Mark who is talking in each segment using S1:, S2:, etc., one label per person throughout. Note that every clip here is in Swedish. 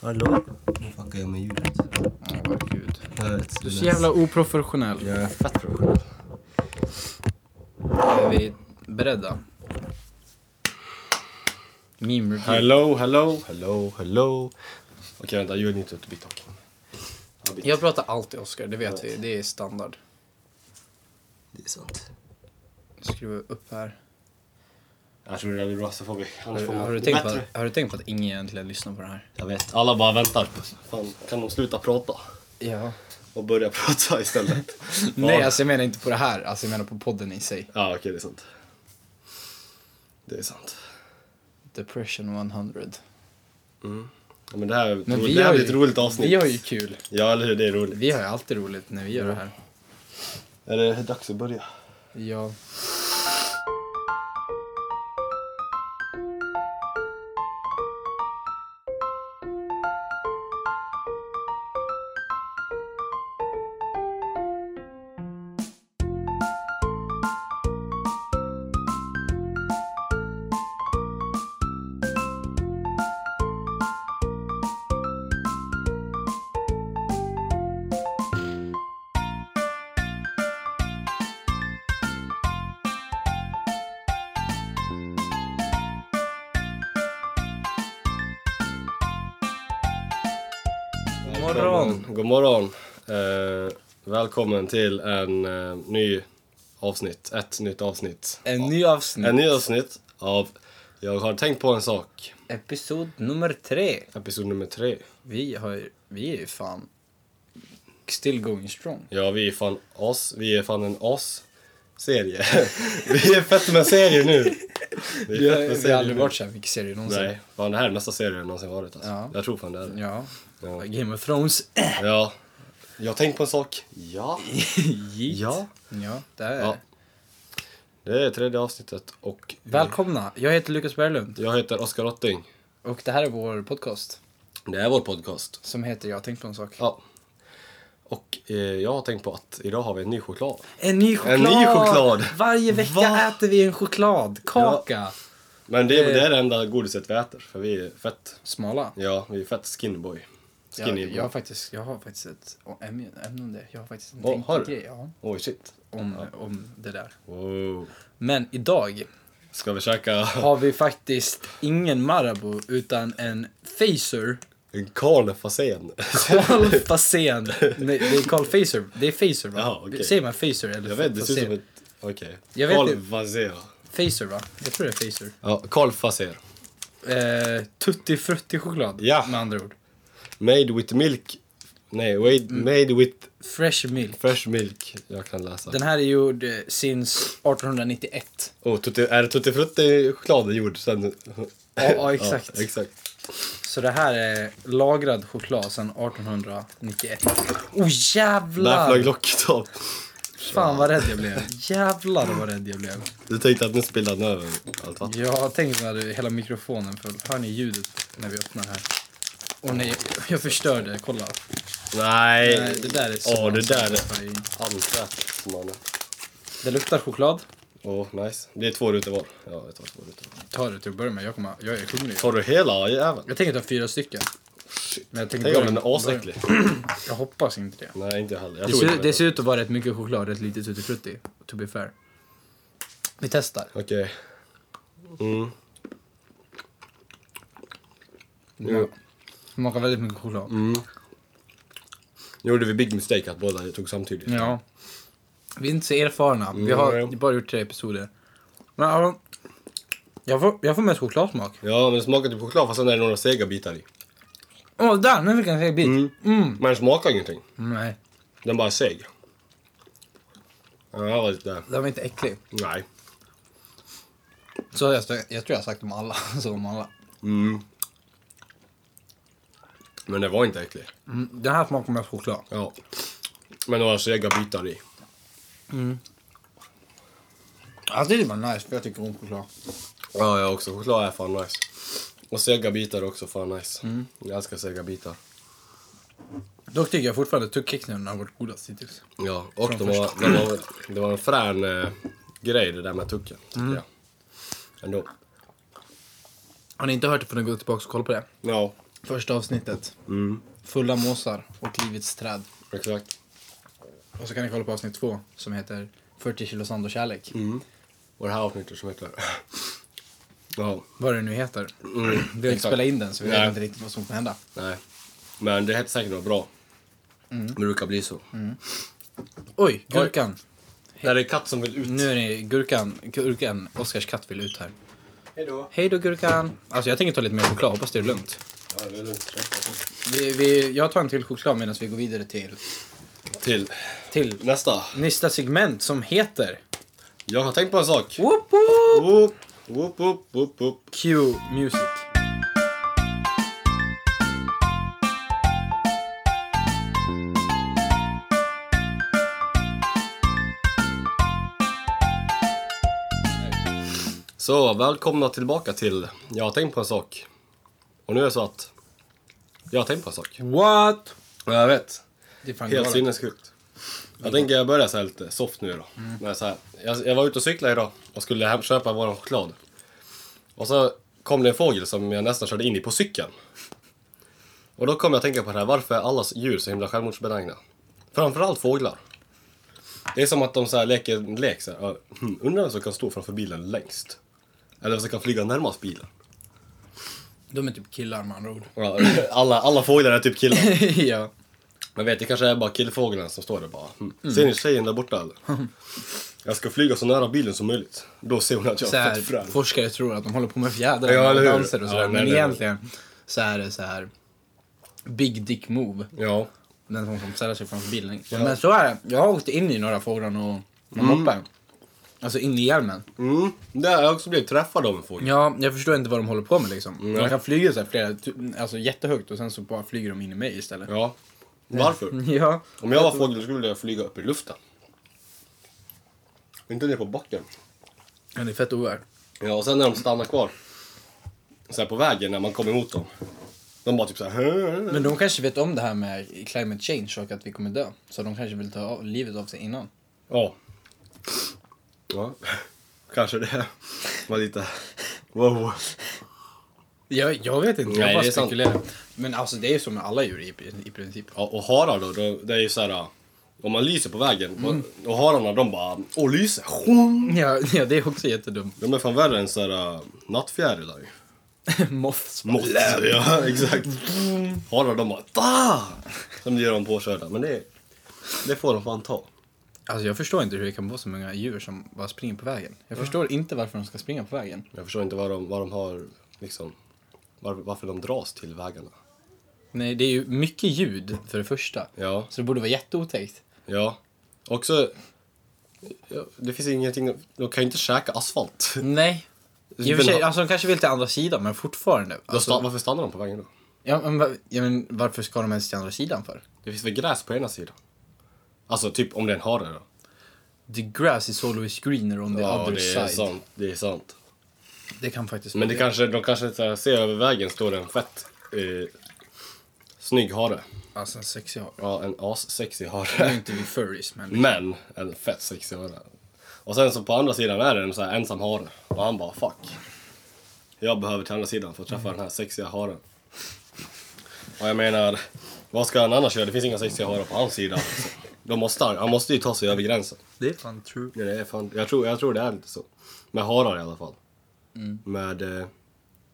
S1: Hallå? Nu fuckar jag med ljudet.
S2: Ja, vad gud.
S1: Jag vet,
S2: Du är så jävla oprofessionell.
S1: Jag är fett professionell.
S2: Är vi beredda? Meme review.
S3: Hello, hello, hello, hello. Okej, vänta. Joel inte ut TikTok.
S2: Jag pratar alltid Oscar, det vet vi. Det är standard.
S1: Det är sant.
S2: Skruva upp här.
S3: Jag tror det är bra, så får vi.
S2: Har,
S3: Annars får man
S2: har, du
S3: det
S2: tänkt på,
S3: bättre.
S2: har du tänkt på att ingen egentligen lyssnar på det här?
S3: Jag vet, alla bara väntar. Fan, kan de sluta prata?
S2: Ja.
S3: Och börja prata istället?
S2: Nej,
S3: Ja.
S2: alltså jag menar inte på det här. Alltså jag menar på podden i sig.
S3: Ja, okej, det är sant. Det är sant.
S2: Depression 100.
S1: Mm.
S3: Ja, men det här,
S2: Men
S3: tror-
S2: vi
S3: det här
S2: har
S3: blir
S2: ju-
S3: ett roligt avsnitt.
S2: Vi har ju kul.
S3: Ja, eller hur? Det är roligt.
S2: Vi har ju alltid roligt när vi gör det här.
S3: Är det dags att börja?
S2: Ja. God morgon.
S3: God morgon. Eh, välkommen till en eh, ny avsnitt. Ett nytt avsnitt.
S2: En ny avsnitt.
S3: En ny avsnitt av Jag har tänkt på en sak.
S2: Episod nummer tre.
S3: Episod nummer tre.
S2: Vi har vi är ju fan still going strong.
S3: Ja, vi är fan oss. Vi är fan en oss-serie. vi är fett med serier nu.
S2: Vi har, vi har aldrig
S3: nu.
S2: varit så här mycket serier någonsin.
S3: Nej, fan det här är nästa serie jag någonsin varit alltså.
S2: Ja.
S3: Jag tror fan det är det.
S2: Ja.
S3: Ja.
S2: Game of Thrones.
S3: ja. Jag har tänkt på en sak. Ja.
S2: Yeet.
S3: Ja.
S2: Ja, det är
S3: ja. Det är tredje avsnittet och
S2: Välkomna! Jag heter Lukas Berglund
S3: jag heter Oskar Rotting.
S2: och det här är vår podcast
S3: Det är vår podcast.
S2: som heter Jag har tänkt på en sak.
S3: Ja. Och eh, jag har tänkt på att idag har vi en ny choklad.
S2: En ny choklad!
S3: En ny choklad!
S2: Varje vecka
S3: Va?
S2: äter vi en chokladkaka.
S3: Men det, är-
S2: Eh.
S3: det är det enda godiset vi äter, för vi är fett,
S2: Smala.
S3: ja, vi är fett skinboy.
S2: Jag,
S3: Skinny boy.
S2: jag, har faktiskt, jag har faktiskt ett ämne, ämne om det. Jag har faktiskt en
S3: Åh, har du?
S2: tänkegrej ja,
S3: Oj, shit.
S2: om, om det där.
S3: Wow.
S2: Men idag
S3: Ska vi käka
S2: har vi faktiskt ingen Marabou utan en Facer.
S3: en Carl Fasen?
S2: Carl Fasen. Nej, det är Carl Facer. Det är Facer va?
S3: Jaha, okej.
S2: Säger man Facer eller
S3: Jag vet, det ser ut som
S2: Facer?
S3: ett... Okej.
S2: Jag vet
S3: Carl
S2: inte.
S3: Faser.
S2: Facer va? Jag tror det är Facer.
S3: Ja, Carl Faser.
S2: Eh, tutti frutti choklad
S3: Ja.
S2: med andra ord.
S3: Made with milk... Nej, wait, made with
S2: Fresh milk.
S3: fresh milk. Jag kan läsa.
S2: Den här är gjord eh, since 1891.
S3: Oh, tutti, är det Tutti Frutti-choklad gjord sen?
S2: Ja, ja, exakt.
S3: Ja, exakt.
S2: Så det här är lagrad choklad sedan 1891. Oh
S3: Där flög
S2: jävlar!
S3: locket av.
S2: Fan vad rädd jag blev. Jävlar vad rädd jag blev.
S3: Du tänkte att nu spillde han över allt vatten.
S2: Jag tänkte när det- hela mikrofonen föll. Hör ni ljudet när vi öppnar här? Åh nej, jag förstörde. Kolla.
S3: Nej.
S2: Nej, det där är så-
S3: Åh, det där är anfrätt, mannen.
S2: Det luktar choklad.
S3: Åh, nice. Det är två rutor var. Ja, jag tar två rutor.
S2: Ta det till att börja med. Jag, kommer, jag är hungrig.
S3: Tar du hela jäveln?
S2: Jag tänker ta fyra stycken. Men jag tänker
S3: Tänk om
S2: börja-
S3: den är asäcklig.
S2: Jag hoppas inte det.
S3: Nej, inte jag heller. Jag
S2: Det
S3: tror
S2: ser,
S3: inte
S2: det ser ut att vara rätt mycket choklad, rätt lite tutti frutti. To be fair. Vi testar.
S3: Okej. Mm.
S2: Ja. Smakar väldigt mycket choklad.
S3: Nu gjorde vi big mistake att båda tog samtidigt.
S2: Ja. Vi är inte så erfarna. Vi har
S3: Mm.
S2: bara gjort tre episoder. Men alltså, jag får, jag får mest chokladsmak.
S3: Ja, den smakar typ choklad fast sen är det några sega bitar i.
S2: Åh, där! Nu fick jag en seg bit.
S3: Mm.
S2: Mm.
S3: Men den smakar ingenting.
S2: Nej,
S3: Den bara är seg. Ja, det var lite...
S2: den var inte äcklig.
S3: Nej.
S2: Så jag, jag tror jag har sagt om alla. Så om alla.
S3: Mm. Men det var inte äcklig.
S2: Mm, den här smakar mest choklad.
S3: Ja. Men några sega bitar i.
S2: Alltså det är bara nice, för jag tycker om choklad.
S3: Ja, jag också. Choklad är fan nice. Och sega bitar är också fan nice. Jag älskar sega bitar.
S2: Dock tycker jag fortfarande att tuggkexen har varit godast hittills.
S3: Ja, och
S2: Från
S3: de var, de var, det var en frän eh, grej det där med tucken, tycker jag. Ändå.
S2: Har ni inte hört det får ni gå tillbaka och kolla på det.
S3: Ja.
S2: Första avsnittet.
S3: Mm,
S2: Fulla måsar och livets träd.
S3: exakt.
S2: Och så kan ni kolla på avsnitt två som heter 40 kilo sand och kärlek.
S3: Mm. Och det här avsnittet som heter... Ja,
S2: Vad det nu heter.
S3: mm,
S2: Vi har inte
S3: exakt.
S2: spelat in den så vi vet
S3: Nej.
S2: inte riktigt vad som kommer hända.
S3: Nej. Men det heter säkert något bra. Det brukar bli så.
S2: Oj, gurkan.
S3: När det är katt som vill ut.
S2: Nu är det gurkan. Gurkan, Oskars katt vill ut här.
S3: Hejdå.
S2: Hej då gurkan. Alltså jag tänker ta lite mer choklad, hoppas det är lugnt.
S3: Ja, det är lugnt.
S2: Vi, vi, jag tar en till choklad medan vi går vidare till,
S3: Till
S2: till
S3: nästa.
S2: nästa segment som heter...
S3: Jag har tänkt på en sak.
S2: Woop woop!
S3: Whoop, whoop, whoop, whoop, whoop.
S2: Q Music.
S3: Så, välkomna tillbaka till Jag har tänkt på en sak. Och nu är det så att jag har tänkt på en sak.
S2: What?
S3: Och jag vet,
S2: Det är fan
S3: helt
S2: galet.
S3: sinnessjukt. Jag tänker jag börjar så här lite soft nu då. Men så här, jag, jag var ute och cyklade idag och skulle hem köpa vår choklad. Och så kom det en fågel som jag nästan körde in i på cykeln. Och då kom jag att tänka på det här, varför är alla djur så himla självmordsbenägna? Framförallt fåglar. Det är som att de så här leker en lek så här, ja, hmm, undrar vem som kan stå framför bilen längst? Eller vem som kan flyga närmast bilen?
S2: De är typ killar med andra ord.
S3: Ja, Alla, alla fåglar är typ killar.
S2: ja.
S3: Men vet, det kanske är bara killfåglarna som står där bara. "Mm, Ser ni tjejen där borta eller? Jag ska flyga så nära bilen som möjligt. Då ser hon att jag
S2: Så
S3: är
S2: här,
S3: fett frän.
S2: forskare tror att de håller på med fjädrar
S3: Ja, eller
S2: och
S3: hur?
S2: danser och sådär.
S3: Ja, nej,
S2: men
S3: nej, nej.
S2: egentligen så är det så här Big Dick Move.
S3: Ja.
S2: Den som- som ställer sig framför bilen.
S3: Ja.
S2: Men så är det. Jag har åkt in i några fordon och och moppen. Alltså in i hjälmen.
S3: Mm. Där har jag också blivit träffad av en fågel.
S2: Ja, jag förstår inte vad de håller på med liksom.
S3: Nej.
S2: De kan flyga så här flera, tu- alltså jättehögt och sen så bara flyger de in i mig istället.
S3: Ja.
S2: Mm.
S3: Varför?
S2: Ja.
S3: Om jag var fågel skulle jag flyga upp i luften. Inte ner på backen.
S2: Men det är fett ovärt.
S3: Ja, och sen när de stannar kvar. Så här på vägen när man kommer emot dem. De bara typ så här.
S2: Men de kanske vet om det här med climate change och att vi kommer dö. Så de kanske vill ta av- livet av sig innan.
S3: Ja. Ja. Kanske det var lite... Wow.
S2: Jag, jag vet inte, jag
S3: Nej,
S2: bara
S3: det är sant.
S2: spekulerar. Men alltså det är ju som med alla djur i, i princip.
S3: Ja, och harar då, då, det är ju så här. äh, Om man lyser på vägen, och, och hararna de bara åh lyser.
S2: Ja, ja det är också jättedumt.
S3: De är fan värre än så här äh, nattfjärilar ju.
S2: Moths.
S3: Mått. Ja, exakt. Harar de bara da! Sen blir de påkörda, men det, det får de fan ta.
S2: Alltså jag förstår inte hur det kan vara så många djur som bara springer på vägen. Jag förstår inte varför de ska springa på vägen.
S3: Jag förstår inte vad de, vad de har liksom, var, varför de dras till vägarna.
S2: Nej, det är ju mycket ljud för det första.
S3: Ja,
S2: Så det borde vara jätteotäckt.
S3: ja. Också, ja, det finns ingenting, de kan ju inte käka asfalt.
S2: Nej. I och för sig, alltså de kanske vill till andra sidan, men fortfarande.
S3: Då sta-
S2: Alltså,
S3: varför stannar de på vägen då?
S2: ja, men, va- ja, men varför ska de ens till andra sidan för?
S3: Det finns väl gräs på ena sidan? Alltså typ om det är en hare då.
S2: The grass is always greener on the other
S3: det är
S2: side.
S3: sant. Det är sant.
S2: Det kan faktiskt
S3: Men det
S2: vara
S3: kanske, de kanske så här, ser över vägen står det en fett eh, snygg hare.
S2: Alltså en sexig hare.
S3: Ja, en assexig
S2: Nu är
S3: hare.
S2: inte vi furries, men...
S3: Men en fett sexig hare. Och sen så på andra sidan är det en så här ensam hare. Och han bara fuck. Jag behöver till andra sidan för att träffa den här sexiga haren. Och jag menar, vad ska han annars göra? Det finns inga sexiga harar på hans sida. De måste, han han måste ju ta sig över gränsen.
S2: Det är fan true.
S3: Ja, det är fan, jag, tror, jag tror det är lite så. Med harar i alla fall.
S2: Mm.
S3: Med... Eh,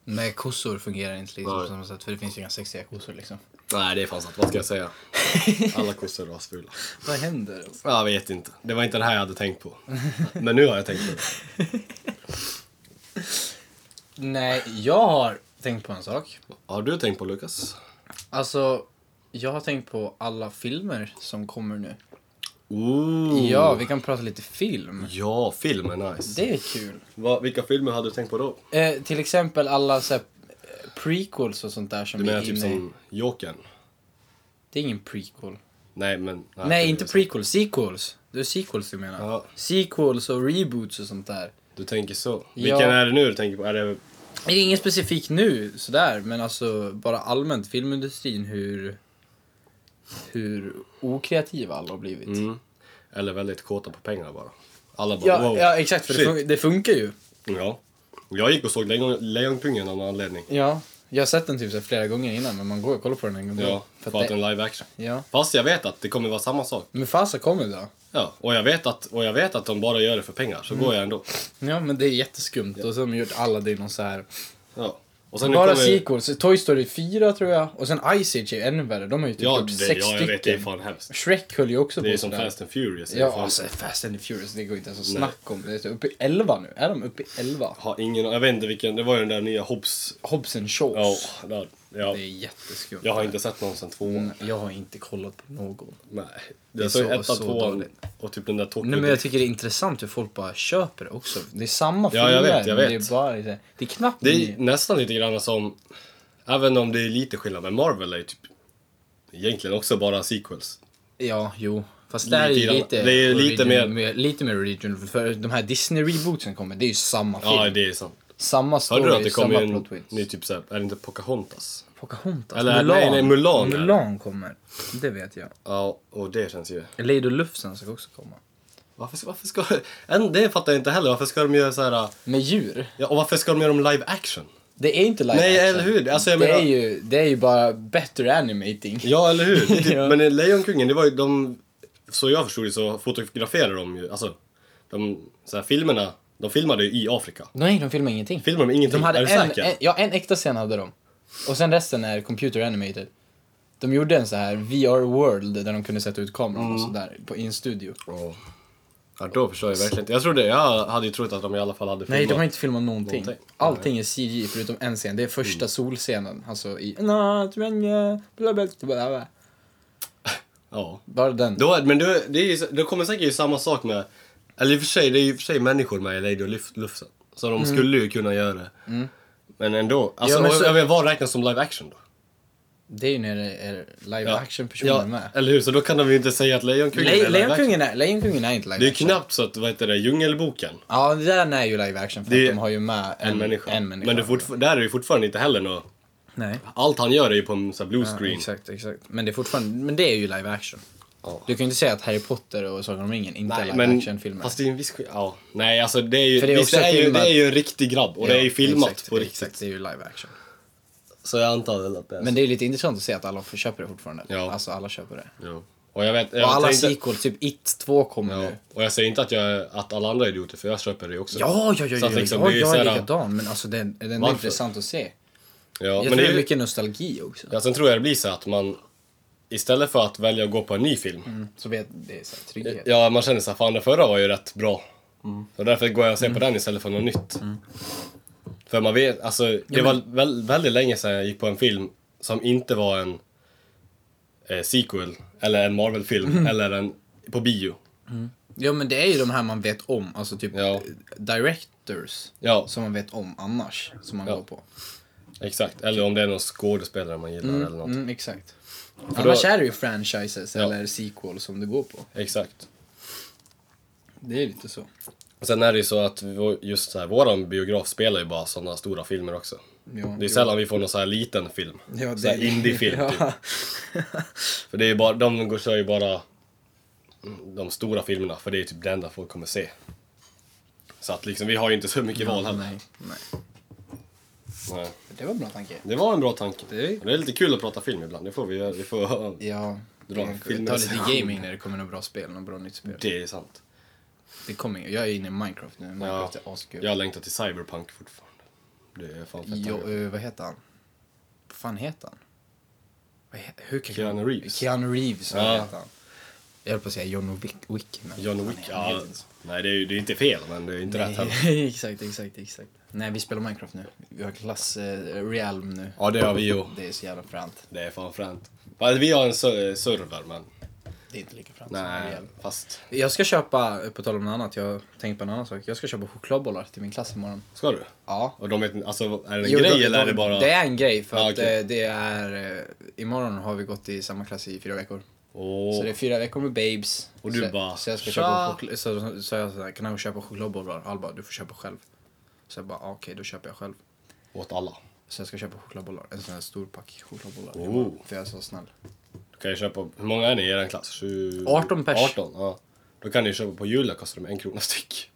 S2: Nej, kossor fungerar inte liksom
S3: Nej.
S2: på samma sätt, för det finns ju inga sexiga kossor liksom.
S3: nej, det är fan sant. Vad ska jag säga? Alla kossor är rasfula.
S2: Vad händer?
S3: Jag vet inte. Det var inte det här jag hade tänkt på. Men nu har jag tänkt på det.
S2: Nej, jag har tänkt på en sak.
S3: Har du tänkt på Lukas?
S2: Alltså, jag har tänkt på alla filmer som kommer nu.
S3: Ooh.
S2: Ja, vi kan prata lite film.
S3: Ja, film är nice.
S2: Det är kul.
S3: Va, vilka filmer hade du tänkt på då?
S2: Eh, till exempel alla så här, eh, prequels och sånt där som
S3: Du menar
S2: är
S3: typ
S2: inne.
S3: som Jokern?
S2: Det är ingen prequel.
S3: Nej, men...
S2: Nej,
S3: det
S2: inte
S3: är så.
S2: prequels. Sequels. Det är sequels du menar.
S3: Ja.
S2: Sequels och reboots och sånt där.
S3: Du tänker så.
S2: Ja.
S3: Vilken är det nu du tänker på? Är det...
S2: Det är inget specifikt nu sådär, men alltså bara allmänt filmindustrin hur hur okreativa alla har blivit.
S3: Mm. Eller väldigt kåta på pengar bara. Alla bara
S2: Ja,
S3: wow.
S2: ja, exakt. För det,
S3: Shit.
S2: fun- det funkar ju.
S3: Ja. Jag gick och såg Lejon, Lejonkungen av någon anledning.
S2: Ja, Jag har sett den typ så här flera gånger innan, men man går och kollar på den en gång till.
S3: Ja,
S2: För
S3: för att
S2: det-
S3: den är live action.
S2: ja.
S3: Fast jag vet att det kommer vara samma sak.
S2: Men Fasa kommer då.
S3: Ja, och jag vet att, och jag vet att de bara gör det för pengar,
S2: Mm.
S3: så går jag ändå.
S2: Ja, men det är jätteskumt. Och så har de gjort Aladdin och så här.
S3: Ja. Och nu
S2: Bara
S3: kommer-
S2: sequels. Toy Story 4 tror jag. Och sen Ice Age är ännu värre. De har ju typ
S3: Ja,
S2: gjort
S3: det,
S2: sex
S3: ja, jag vet. Det är
S2: stycken.
S3: fan hemskt.
S2: Shrek höll ju också på
S3: Det är som
S2: sådär.
S3: Fast and Furious.
S2: Ja,
S3: fan.
S2: alltså Fast and the Furious, det går inte ens att snacka om. Det är typ uppe i 11 nu. Är de uppe i 11?
S3: Har ingen, jag vet inte vilken, det var ju den där nya Hobbs.
S2: Hobbs and Shaw.
S3: Ja, där, ja.
S2: Det är jätteskumt.
S3: Jag har inte sett någon sedan tvåan.
S2: Mm, Jag har inte kollat på någon.
S3: Nej.
S2: är
S3: Jag såg
S2: så-
S3: ettan,
S2: så
S3: tvåan
S2: dåligt.
S3: och typ den där
S2: Nej, men jag
S3: torkade.
S2: tycker det är intressant hur folk bara köper det också. Det är samma
S3: Ja, jag vet, jag
S2: men
S3: vet.
S2: Det är, bara, det är knappt...
S3: Det är nästan lite grann som, även om det är lite skillnad, men Marvel är ju typ egentligen också bara sequels.
S2: Ja, jo. Fast det här är
S3: Lite
S2: ju
S3: grann.
S2: lite...
S3: Det är ju lite mer-
S2: original- mer... Lite mer original. För de här Disney-rebootsen kommer, det är ju samma film.
S3: Ja, det är sant.
S2: Samma
S3: Hörde du att
S2: story,
S3: det
S2: samma
S3: kommer
S2: plot
S3: en
S2: twist.
S3: ny typ såhär, är det inte Pocahontas?
S2: Pocahontas?
S3: Eller, nej, nej, Mulan är det.
S2: Mulan kommer. Det vet jag.
S3: Ja, och det känns ju...
S2: Lady Lufsen ska också komma.
S3: Varför ska, varför ska... En, det fattar jag inte heller, varför ska de göra så här...
S2: Med djur?
S3: Ja, och varför ska de göra dem live action?
S2: Det är inte live
S3: Nej,
S2: action.
S3: eller hur? Alltså, jag
S2: det,
S3: menar-
S2: är ju, det är ju bara better animating.
S3: Ja, eller hur? Det är typ,
S2: Ja.
S3: Men eh, Lejonkungen, det var ju de... Så jag förstod det så fotograferade de ju, alltså... De så här, filmerna, de filmade ju i Afrika.
S2: Nej, de filmar ingenting.
S3: Filmade de ingenting?
S2: de hade
S3: är du
S2: en,
S3: säker?
S2: en, ja, en äkta scen hade de. Och sen resten är computer animated. De gjorde en så här VR world där de kunde sätta ut kameran och sådär på- i en studio.
S3: Ja. Ja, då förstår jag verkligen inte. Jag trodde, jag hade ju trott att de i alla fall hade filmat.
S2: Nej, de har inte filmat någonting.
S3: Någonting.
S2: Allting är CG förutom en scen. Det är första solscenen. Alltså i... Na, tvenja, bla, bla, bla, bla.
S3: Ja.
S2: Bara den.
S3: Då, men då, det, är ju, då kommer säkert ju samma sak med... Eller i och för sig, det är ju i och för sig människor med i Lady och Luf- Lufsen. Så de skulle ju kunna göra det. Men ändå. Alltså,
S2: Mm. men
S3: och-
S2: så-
S3: jag menar, vad räknas som live action då?
S2: Det är ju när det är live
S3: Ja.
S2: action personer
S3: ja,
S2: med.
S3: Eller hur? Så då kan de ju inte säga att Lejonkungen är
S2: Le-
S3: live action.
S2: Lejonkungen är, Lejonkungen är inte live
S3: Det är ju
S2: action.
S3: knappt så att, vad heter det, Djungelboken.
S2: Ja, det där är ju live action för
S3: Det är
S2: att de har ju med en,
S3: En människa.
S2: En människa.
S3: Men det är fortfar- där är det ju fortfarande inte heller något...
S2: Nej.
S3: Allt han gör är ju på en sån här blue
S2: Ja,
S3: screen.
S2: exakt, exakt. Men det är fortfarande, men det är ju live action.
S3: Ja.
S2: Du kan ju inte säga att Harry Potter och Sagan om ringen inte är
S3: Nej,
S2: live action-filmer.
S3: Fast det är ju en viss skill- Ja. Nej, alltså det är ju...
S2: För det är
S3: visst,
S2: också
S3: det, är ju det
S2: filmat-
S3: är ju en riktig grabb och det är ju
S2: Ja,
S3: filmat
S2: exakt,
S3: på riktigt. Alltså-
S2: Exakt, det är ju live action.
S3: Så jag antar väl att det är så.
S2: Men det är ju lite intressant att se att alla får- köper det fortfarande.
S3: Ja.
S2: Alltså alla köper det.
S3: Ja. Och jag vet... Jag
S2: Och alla
S3: tänkte-
S2: sequel, typ It 2 kommer
S3: Ja.
S2: nu.
S3: Och jag säger inte att, jag, att alla andra är idioter, för jag köper det också.
S2: Ja, ja, ja,
S3: Så
S2: ja,
S3: att liksom,
S2: ja,
S3: det är ju
S2: jag är
S3: såhär-
S2: likadan. Men alltså den, den är
S3: Varför?
S2: intressant att se.
S3: Ja,
S2: Jag
S3: men
S2: tror
S3: det
S2: det
S3: är
S2: är
S3: ju,
S2: mycket nostalgi också.
S3: ja, sen tror jag det blir så att man istället för att välja att gå på en ny film.
S2: Så vet, det är så här trygghet.
S3: Ja, man känner såhär, fan den förra var ju rätt bra.
S2: Mm.
S3: Så därför går jag och ser på den istället för något nytt. För man vet, alltså det
S2: men-
S3: var väl, väldigt länge sedan jag gick på en film som inte var en eh, sequel, eller en Marvel-film,
S2: Mm.
S3: eller en på bio.
S2: Ja men det är ju de här man vet om, alltså typ
S3: Ja.
S2: eh, directors.
S3: Ja,
S2: Som man vet om annars, som man
S3: Ja.
S2: går på.
S3: exakt. Eller om det är någon skådespelare man gillar eller något.
S2: Mm, exakt. Annars är det ju franchises
S3: Ja.
S2: eller sequels som du går på.
S3: Exakt.
S2: Det är lite så.
S3: Och sen är det ju så att vi- just så här, våran biograf spelar ju bara sådana stora filmer också.
S2: Ja,
S3: Det är
S2: jo.
S3: sällan vi får någon så här liten film.
S2: Ja,
S3: så här indiefilm typ.
S2: Ja.
S3: För det är ju bara, de går, kör ju bara mm, de stora filmerna, för det är typ det enda folk kommer se. Så att liksom, vi har ju inte så mycket val heller.
S2: Nej, nej.
S3: Nej.
S2: Det var en bra tanke.
S3: Det var en bra tanke.
S2: Det är-
S3: Och det är lite kul att prata film ibland, det får vi göra. Vi får...
S2: Ja,
S3: Dra
S2: jag
S3: filmer
S2: tar
S3: och
S2: lite
S3: sen-
S2: gaming när det kommer något bra spel, något bra nytt spel.
S3: Det är sant.
S2: Det kommer, jag är inne i Minecraft nu,
S3: Ja.
S2: Minecraft är askul.
S3: Jag längtar till Cyberpunk fortfarande. Det är fan fett
S2: Jo,
S3: taggad.
S2: eh, vad heter han? Vad fan heter han? Vad he- hur kan
S3: Keanu Reeves.
S2: Keanu Reeves, vad
S3: Ja.
S2: heter han? Jag höll på att säga John Wick, Wick men
S3: John
S2: fan,
S3: Wick,
S2: han
S3: ja.
S2: heter inte så.
S3: Nej, det är ju det är inte fel, men det är inte rätt heller.
S2: Nej, exakt, exakt, exakt. Nej, vi spelar Minecraft nu. Vi har klass eh, Realm nu.
S3: Ja, det har vi ju.
S2: Det är så jävla fränt.
S3: Det är fan fränt. Fast Vi har en ser- eh, server, men...
S2: Det är inte lika fränt som
S3: Nej,
S2: Realm.
S3: fast...
S2: Jag ska köpa, eh, på tal om något annat, jag tänkte på en annan sak. Jag ska köpa chokladbollar till min klass imorgon.
S3: Ska du?
S2: Ja.
S3: Och de vet, alltså, är det en
S2: Jo,
S3: grej
S2: de-
S3: eller är
S2: de-
S3: det bara...
S2: Det är en grej för
S3: Ja,
S2: att
S3: okej.
S2: eh, det är... eh, Imorgon har vi gått i samma klass i fyra veckor.
S3: Åh.
S2: Så det är fyra veckor med babes.
S3: Och du
S2: så,
S3: bara,
S2: Så jag ska
S3: "Tja."
S2: köpa choklad, så, så jag såhär, kan jag köpa chokladbollar? Alla bara, du får köpa själv. Så jag bara, ah, okej då köper jag själv.
S3: åt alla.
S2: Så jag ska köpa chokladbollar. En sån här stor pack chokladbollar.
S3: Oh.
S2: För jag är så snäll.
S3: Du kan ju köpa, hur många är ni i er klass? Sju...
S2: 18 pers.
S3: 18, ja. Då kan ni ju köpa på Julia, kostar de en krona styck.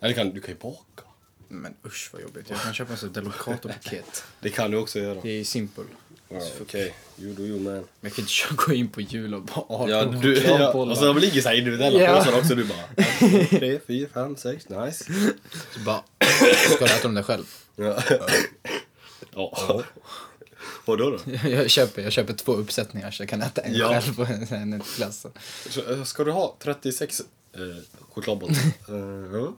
S3: Eller kan, du kan ju baka.
S2: Men usch vad jobbigt. Jag kan köpa en sån här Delocato-paket.
S3: Det kan du också göra.
S2: Det är simpel.
S3: Ja, Okej, you do you man.
S2: Men jag kan inte köra- gå in på jul och bara ha
S3: Ja,
S2: några
S3: du, ja, alltså-
S2: chokladbollar.
S3: och så de ligger såhär individuella
S2: Ja.
S3: påsar också. Du bara... en, två, Tre, fyra, fem, sex, nice.
S2: Så bara, ska du äta dem där själv?
S3: Ja. ja. Vadå då?
S2: Jag köper, jag köper två uppsättningar så jag kan äta en
S3: Ja.
S2: själv och en i klassen.
S3: Så, eh, Ska du ha 36 eh, chokladbollar? Eh, ja.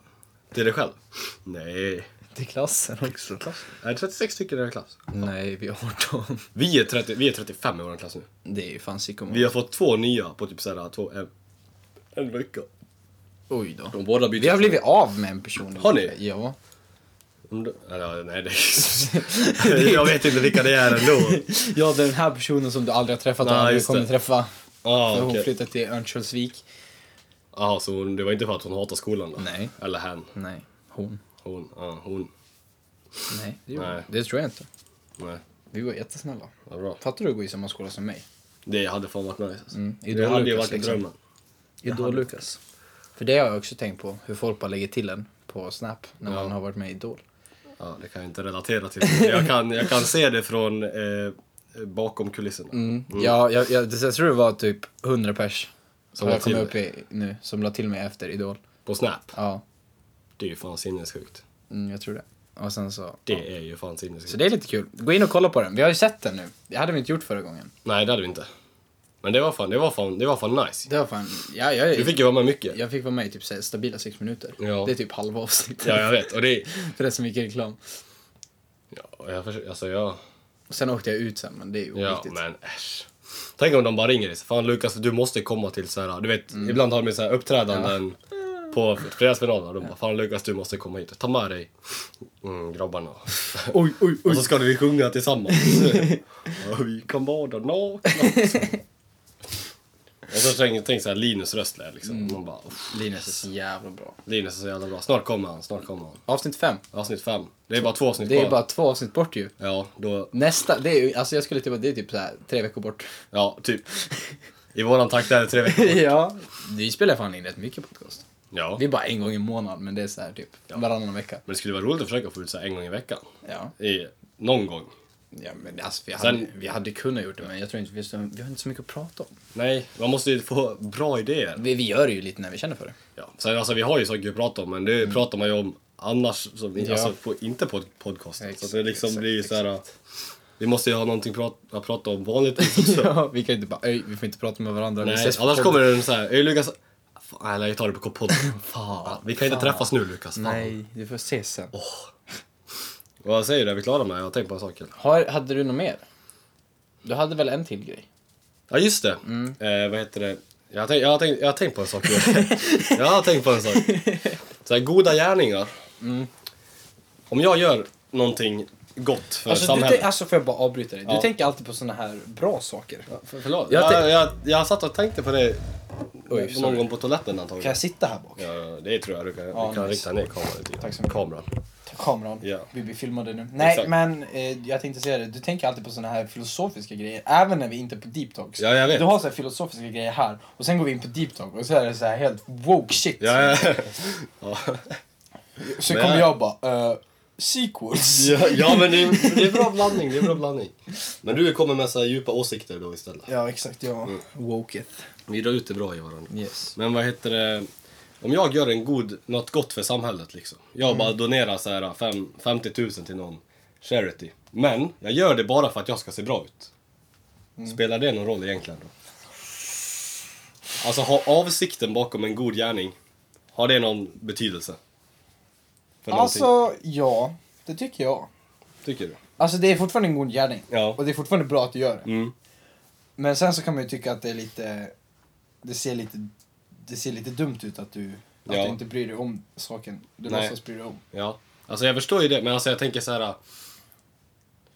S3: Till dig själv? Nej.
S2: Till klassen också?
S3: Är det 36 stycken i din klass?
S2: Nej, vi har dem.
S3: Vi är, 30, vi är 35 i vår klass nu.
S2: Det är ju fan sicko
S3: Vi har fått två nya på typ såhär två, en, en vecka.
S2: Oj då.
S3: De båda byter.
S2: Vi har blivit av med en person.
S3: Har ni?
S2: Ja.
S3: Om du- eller, nej, det, jag vet inte vilka det är ändå.
S2: Ja, den här personen som du aldrig har träffat och
S3: Nej,
S2: aldrig
S3: just
S2: kommer
S3: det.
S2: träffa.
S3: Ah,
S2: För hon
S3: okej.
S2: flyttade till Örnsköldsvik.
S3: Jaha, så hon, det var inte för att hon hatar skolan då?
S2: Nej.
S3: Eller hen.
S2: Nej, hon.
S3: Hon. Ja, hon.
S2: Nej, det, gjorde
S3: Nej.
S2: hon. det tror jag inte.
S3: Nej,
S2: Vi var jättesnälla.
S3: vad bra.
S2: Fattar du att gå i samma skola som mig?
S3: Det hade fan varit nice. Alltså.
S2: Mm,
S3: Det
S2: Idol
S3: hade ju
S2: Lukas,
S3: varit
S2: liksom.
S3: drömmen.
S2: Idol-Lukas. För det har jag också tänkt på, hur folk bara lägger till en på Snap när
S3: Ja.
S2: man har varit med i Idol.
S3: Ja, det kan jag inte relatera till. Men Jag kan, jag kan se det från eh, bakom kulisserna.
S2: Mm. Ja, jag, jag, det- jag tror det var typ 100 pers som
S3: Som la
S2: jag kom
S3: till
S2: upp i nu, som la till mig efter Idol.
S3: På Snap.
S2: Ja,
S3: Det är ju fan sinnessjukt.
S2: mm, jag tror det. Och sen så...
S3: Det
S2: Ja.
S3: är ju fan sinnessjukt.
S2: Så det är lite kul. Gå in och kolla på den. Vi har ju sett den nu. Det hade vi inte gjort förra gången.
S3: Nej, det hade vi inte. Men det var fan, det var fan, det var fan nice.
S2: Det var fan... Ja, jag,
S3: Du fick ju vara med mycket.
S2: jag fick vara med i typ så här stabila sex minuter.
S3: Ja.
S2: Det är typ halva avsnittet.
S3: Ja, jag vet. Och det...
S2: För det är så mycket reklam.
S3: Ja, jag försöker, alltså jag...
S2: Och sen åkte jag ut sen, men det är ju
S3: Ja,
S2: oviktigt.
S3: men äsch. Tänk om de bara ringer dig. så, Fan Lukas, du måste komma till så här. Du vet, ibland har de ju så här uppträdanden på fredagsfinaler. De bara, fan Lukas, du måste komma hit. Ta med dig mm, grabbarna.
S2: Oj, oj,
S3: Och
S2: oj.
S3: så ska vi sjunga tillsammans. Och vi kan bada nakna. Och så tänk, tänk så här Linus röst där, liksom.
S2: Mm.
S3: Man bara, uff,
S2: Linus är så jävla bra.
S3: Linus är så jävla bra. Snart kommer han, snart kommer han.
S2: Avsnitt fem.
S3: Avsnitt fem. Det är bara två avsnitt
S2: Det är
S3: kvar.
S2: bara två avsnitt bort ju.
S3: Ja, då...
S2: Nästa, det är ju, alltså jag skulle typ, det är typ så här tre veckor bort.
S3: Ja, typ. I våran takt är det tre veckor.
S2: ja. Vi spelar fan in rätt mycket podcast.
S3: Ja.
S2: Det är bara en gång i månaden, men det är så här typ varannan vecka.
S3: Men det skulle vara roligt att försöka få ut så här en gång i veckan.
S2: Ja.
S3: I, någon gång.
S2: Ja, men alltså vi
S3: Sen-
S2: hade, vi hade kunnat gjort det, men jag tror inte vi, så- vi har inte så mycket att prata om.
S3: Nej, man måste ju få bra idéer.
S2: Vi, vi gör det ju lite när vi känner för det.
S3: Ja. Sen, alltså, vi har ju saker att prata om, men det pratar man ju om annars, som,
S2: Mm. Ja.
S3: alltså, på, inte på podcast. så
S2: Exakt,
S3: att det liksom
S2: exakt,
S3: blir ju så här, vi måste ju ha någonting prat, att prata om vanligtvis också.
S2: Ja, vi kan ju inte bara, "Oj, vi får inte prata med varandra. vi
S3: Nej,
S2: ses på
S3: annars
S2: podd."
S3: kommer det en så här, "Ey, Lukas, fan, eller jag tar det på podden. Ja, vi kan inte
S2: fan.
S3: träffas nu Lukas. Fan.
S2: Nej, du får ses sen.
S3: Vad säger du? Är vi klara med? Jag har tänkt på en sak. eller?
S2: Har, hade du något mer? Du hade väl en till grej?
S3: Ja, just det. Eh, vad heter det? Jag har, tänkt, jag, har tänkt, jag har tänkt på en sak. nu. jag har tänkt på en sak. Så här, goda gärningar. Om jag gör någonting gott för
S2: Alltså, du,
S3: samhället.
S2: tänk- alltså får jag bara avbryta dig? Du
S3: Ja.
S2: tänker alltid på såna här bra saker.
S3: För, förlåt.
S2: Jag
S3: Jag,
S2: tänk-
S3: jag, jag, satt och tänkte på det
S2: Oj,
S3: någon
S2: sorry.
S3: gång på toaletten antagligen.
S2: Kan jag sitta här bak?
S3: Ja, det tror jag du kan.
S2: Ja,
S3: vi kan
S2: nice.
S3: rikta ner kameran lite grann.
S2: Tack så mycket.
S3: Kameran.
S2: Ta kameran.
S3: Ja.
S2: Vi blir filmade nu. Nej,
S3: Exakt.
S2: men eh, jag tänkte säga det. Du tänker alltid på såna här filosofiska grejer. Även när vi inte är på deep talks.
S3: Ja, jag vet.
S2: Du har så här filosofiska grejer här. Och sen går vi in på deep talk. Och så är det så här helt woke shit.
S3: Ja, ja. ja.
S2: Så
S3: Men-
S2: kommer jag bara, uh, sequels.
S3: ja, ja men det är, det är bra blandning. Det är bra blandning. Men du kommer med så här djupa åsikter då istället.
S2: Ja, exakt. Ja.
S3: Mm.
S2: Woketh.
S3: Vi drar ut det bra i varandra.
S2: Yes.
S3: Men vad heter det? Om jag gör en god, något gott för samhället liksom. Jag bara donerar så här fem, 50 000 till någon charity. Men jag gör det bara för att jag ska se bra ut. Spelar det någon roll egentligen då? Alltså har avsikten bakom en god gärning, har det någon betydelse? För någonting?
S2: Alltså, ja. Det tycker jag.
S3: Tycker du?
S2: Alltså det är fortfarande en god gärning.
S3: Ja.
S2: Och det är fortfarande bra att du gör det.
S3: Mm.
S2: Men sen så kan man ju tycka att det är lite... Det ser lite, det ser lite dumt ut att du, att
S3: Ja.
S2: du inte bryr dig om saken du
S3: Nej.
S2: låtsas bry dig om.
S3: Ja. Alltså jag förstår ju det, men alltså jag tänker så här.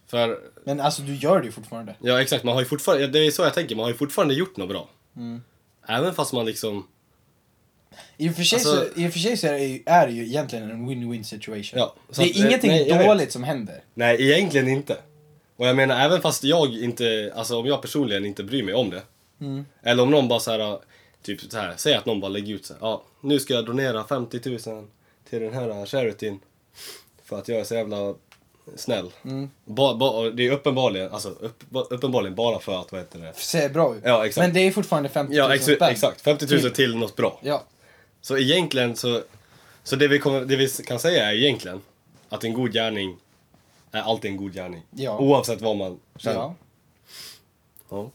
S3: För,
S2: Men alltså du gör det ju fortfarande.
S3: ja exakt, man har ju fortfarande, det är så jag tänker, man har ju fortfarande gjort något bra.
S2: Mm.
S3: Även fast man liksom
S2: I och för sig,
S3: Alltså-
S2: så, i och för sig så är, det ju, är det ju egentligen en win-win situation.
S3: Ja, så
S2: det är
S3: att-
S2: ingenting
S3: nej, jag vet.
S2: dåligt som händer.
S3: Nej, egentligen inte. Och jag menar, även fast jag inte, alltså om jag personligen inte bryr mig om det.
S2: Mm.
S3: Eller om någon bara så här, typ så här, säg att någon bara lägger ut så här, ja, nu ska jag donera 50 000 till den här charityn. För att jag är så jävla snäll.
S2: Mm.
S3: Ba, ba, och det är uppenbarligen, alltså, upp, uppenbarligen bara för att, vad heter det?
S2: Ser bra ut.
S3: Ja, exakt.
S2: Men det är fortfarande 50 000
S3: Ja, ex-
S2: spänn.
S3: exakt. 50 000
S2: Typ.
S3: till något bra.
S2: Ja.
S3: Så egentligen så, så det, vi kommer, det vi kan säga är egentligen att en god gärning är alltid en god gärning.
S2: Ja.
S3: Oavsett vad man känner.
S2: ja.
S3: Ja.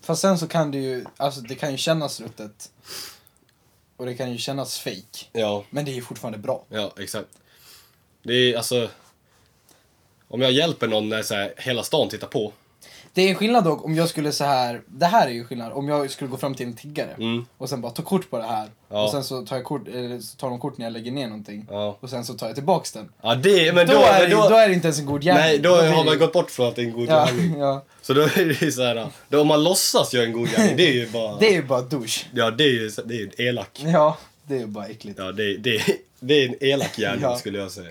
S2: Fast sen så kan det ju, alltså det kan ju kännas ruttet. Och det kan ju kännas fake.
S3: ja.
S2: Men det är ju fortfarande bra.
S3: Ja, exakt. Det är alltså... Om jag hjälper någon när så här, hela stan tittar på.
S2: Det är skillnad dock om jag skulle så här, det här är ju skillnad, om jag skulle gå fram till en tiggare
S3: Mm.
S2: och sen bara ta kort på det här.
S3: Ja.
S2: Och sen så tar, jag kort, eller så tar de kort när jag lägger ner någonting.
S3: Ja.
S2: Och sen så tar jag tillbaks den.
S3: Ja, det... Men
S2: då,
S3: då...
S2: är
S3: men
S2: det, då är det inte ens en god gärning.
S3: nej, då
S2: blir
S3: har
S2: det
S3: man
S2: ju-
S3: gått bort från att det är en god
S2: ja,
S3: gärning.
S2: ja.
S3: Så då är det ju så här... Då om man låtsas göra en god gärning, det är ju bara...
S2: Det är ju bara douche.
S3: Ja, det är ju det är ju elak.
S2: Ja, det är ju bara äckligt.
S3: Ja, det, det, det är en elak gärning
S2: Ja.
S3: skulle jag säga.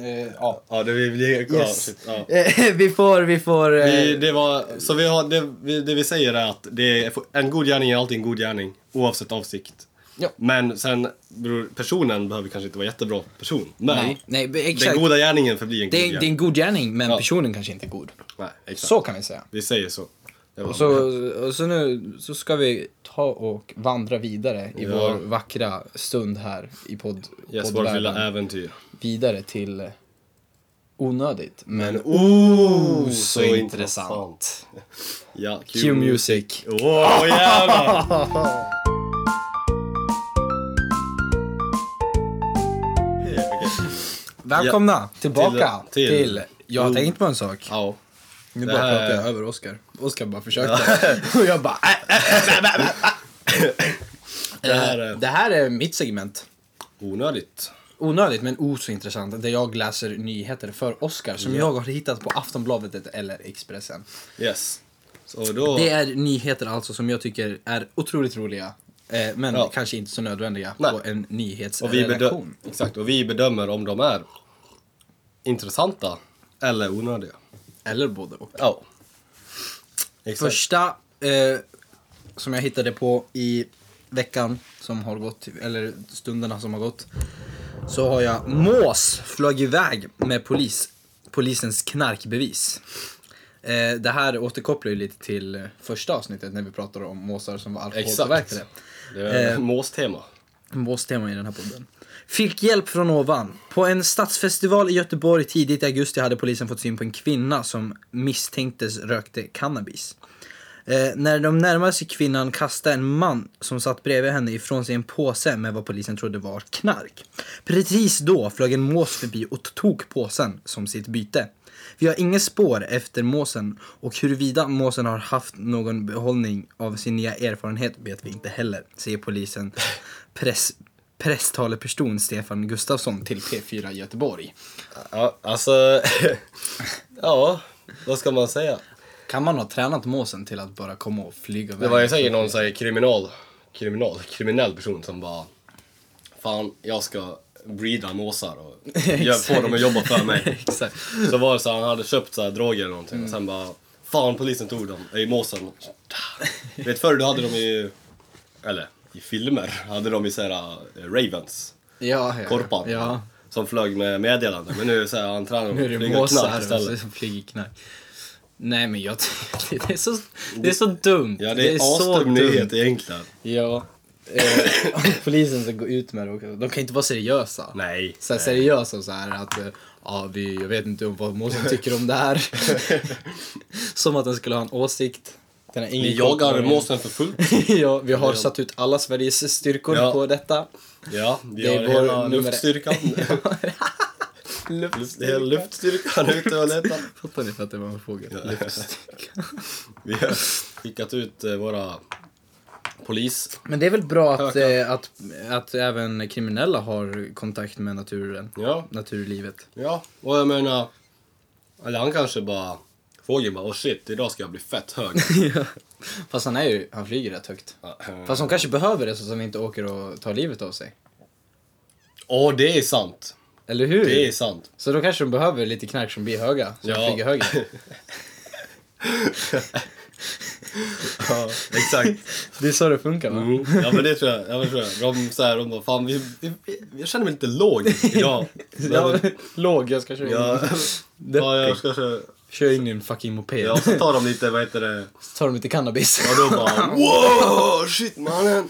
S2: Eh, ja.
S3: Ja, det vi blir... Ja,
S2: Yes.
S3: shit, ja.
S2: Eh, vi får, vi får... eh,
S3: Vi, det var, så vi har, det, vi, det vi säger är att det är, en god gärning är alltid en god gärning, oavsett avsikt.
S2: Ja.
S3: Men sen, beror- personen behöver kanske inte vara jättebra person. Men
S2: Nej, nej men
S3: den
S2: exakt.
S3: goda gärningen förblir en
S2: Det
S3: god
S2: är, det är
S3: gärning.
S2: en god gärning, men
S3: Ja.
S2: personen kanske inte är god.
S3: Nej, exakt.
S2: Så kan vi säga.
S3: Vi säger så. Det var
S2: Och så, och så nu så ska vi ta och vandra vidare i
S3: Ja.
S2: vår vackra stund här i podd,
S3: yes, vårt
S2: poddvärlden.
S3: lilla äventyr.
S2: Vidare till eh, onödigt, men
S3: Men oh,
S2: oh, så intressant.
S3: Ja,
S2: Q Music.
S3: Åh jävlar!
S2: Välkomna tillbaka till,
S3: till-
S2: Jag har
S3: Oh.
S2: tänkt på en sak.
S3: Ja.
S2: Nu
S3: Det
S2: bara
S3: här-
S2: pratar jag över Oskar. Oskar bara försökte. och jag bara... Äh,
S3: Det här
S2: äh,
S3: är
S2: det här är mitt segment.
S3: onödigt.
S2: Onödigt men oh så intressant. Där jag läser nyheter för Oscar som jag har hittat på Aftonbladet eller Expressen.
S3: Yes. Så då...
S2: Det är nyheter alltså som jag tycker är otroligt roliga. Eh, men
S3: Ja.
S2: kanske inte så nödvändiga
S3: Nej.
S2: på en
S3: Och vi, bedö-
S2: nyhetsredaktion.
S3: Exakt, och vi bedömer om de är intressanta eller onödiga.
S2: Eller både och.
S3: Ja. Exakt.
S2: Första eh, som jag hittade på i veckan som har gått, eller stunderna som har gått. Så har jag mås flög iväg med polis, polisens knarkbevis. Eh, det här återkopplar ju lite till eh, första avsnittet när vi pratade om måsar som var alkoholpåverkade.
S3: Exakt. Det är
S2: Eh.
S3: måstema.
S2: Måstema i den här podden. Fick hjälp från ovan. På en stadsfestival i Göteborg tidigt i augusti hade polisen fått syn på en kvinna som misstänktes rökte cannabis. Eh, när de närmade sig kvinnan kastade en man som satt bredvid henne ifrån sig en påse med vad polisen trodde var knark. Precis då flög en mås förbi och tog påsen som sitt byte. Vi har inga spår efter måsen och huruvida måsen har haft någon behållning av sin nya erfarenhet vet vi inte heller, säger polisen press, presstalesperson Stefan Gustafsson till P4 Göteborg.
S3: Ja, alltså... ja, vad ska man säga?
S2: Kan man ha tränat måsen till att bara komma och flyga iväg?
S3: Det var ju säkert någon så här, kriminal, kriminal, kriminell person som bara... Fan, jag ska breeda måsar och gör, få dem att jobba för mig.
S2: Exakt.
S3: Så var det så här, han hade köpt så här droger eller någonting och sen bara Fan polisen tog dem, i måsen. Vet förr då hade de ju, eller i filmer, hade de ju såhär Ravens,
S2: Ja, ja, ja.
S3: korpar.
S2: Ja.
S3: Som flög med meddelanden men nu så här, han tränar dem
S2: Nu är
S3: att
S2: det
S3: flyga
S2: måsar
S3: knark
S2: och så
S3: istället.
S2: flyger knark. Nej men jag tycker det är så, det är så dumt.
S3: Oh. Ja det är, asdum nyhet egentligen.
S2: Ja. Eh, och polisen som går ut med det också. De kan inte vara seriösa.
S3: Nej.
S2: Så här, seriösa och så här att eh, ja, vi, jag vet inte om vad måsen tycker om det här. Som att den skulle ha en åsikt. Den har ingen
S3: Vi
S2: koll på
S3: jagar
S2: den.
S3: måsen för fullt.
S2: ja, vi har satt ut alla Sveriges styrkor
S3: Ja.
S2: på detta.
S3: Ja, vi
S2: Det är
S3: har
S2: vår
S3: hela
S2: nummer-
S3: luftstyrkan. Luft, hela luftstyrkan ute och letar.
S2: Fattar ni för att det var en fågel? Luftstyrka.
S3: Vi har skickat ut eh, våra polis
S2: Men det är väl bra att,
S3: Öka.
S2: eh, att, att även kriminella har kontakt med naturen?
S3: Ja,
S2: Naturlivet.
S3: ja. Och jag menar... Eller han kanske bara... Fågeln bara, oh shit, idag ska jag bli fett hög.
S2: Fast han är ju, han flyger rätt högt.
S3: Ja,
S2: Fast
S3: eh,
S2: de kanske behöver det så att de inte åker och tar livet av sig.
S3: Åh, det är sant.
S2: Eller hur?
S3: Det är sant.
S2: Så då kanske de behöver lite knark som blir höga, så de
S3: Ja.
S2: flyger högre.
S3: Ja, exakt.
S2: Det är så det funkar va?
S3: Mm. Ja men det tror jag. Ja, men det tror jag. De, så här, de bara, fan vi, vi, vi, jag känner mig lite låg idag.
S2: Ja, låg, jag ska köra in.
S3: ja, ja, jag ska köra.
S2: Kör in i en fucking moped.
S3: Ja, så tar de lite, vad heter det?
S2: Så tar de lite cannabis.
S3: Ja, då bara wow, shit mannen.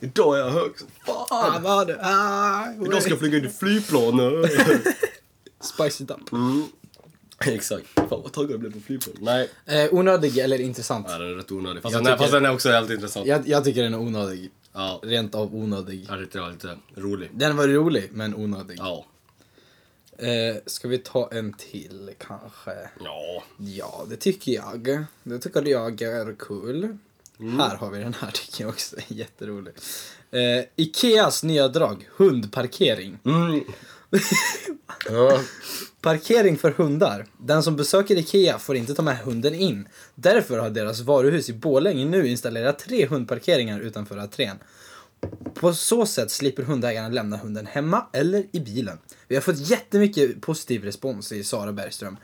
S3: Idag är jag hög som fan.
S2: Ah, vad? Ah,
S3: Idag ska jag flyga in i flygplan.
S2: Spice it up.
S3: Mm. Exakt. Fan vad taggad jag blev på flygplan. Nej,
S2: Eh, onödig eller intressant?
S3: ja, den är rätt onödig. Fast,
S2: Jag
S3: den, är,
S2: tycker-
S3: fast den är också jävligt intressant.
S2: Jag, jag tycker den är onödig.
S3: Ja,
S2: Rent av onödig.
S3: jag tyckte det var lite rolig.
S2: Den var rolig, men onödig.
S3: Ja.
S2: Eh, ska vi ta en till kanske?
S3: Ja.
S2: Ja, det tycker jag. Det tycker jag är kul. Här har vi den här tycker jag också är jätterolig. Eh, Ikeas nya drag, hundparkering.
S3: Mm. ja.
S2: Parkering för hundar. Den som besöker Ikea får inte ta med hunden in. Därför har deras varuhus i Borlänge nu installerat tre hundparkeringar utanför entrén. På så sätt slipper hundägarna lämna hunden hemma eller i bilen. Vi har fått jättemycket positiv respons i Sara Bergström,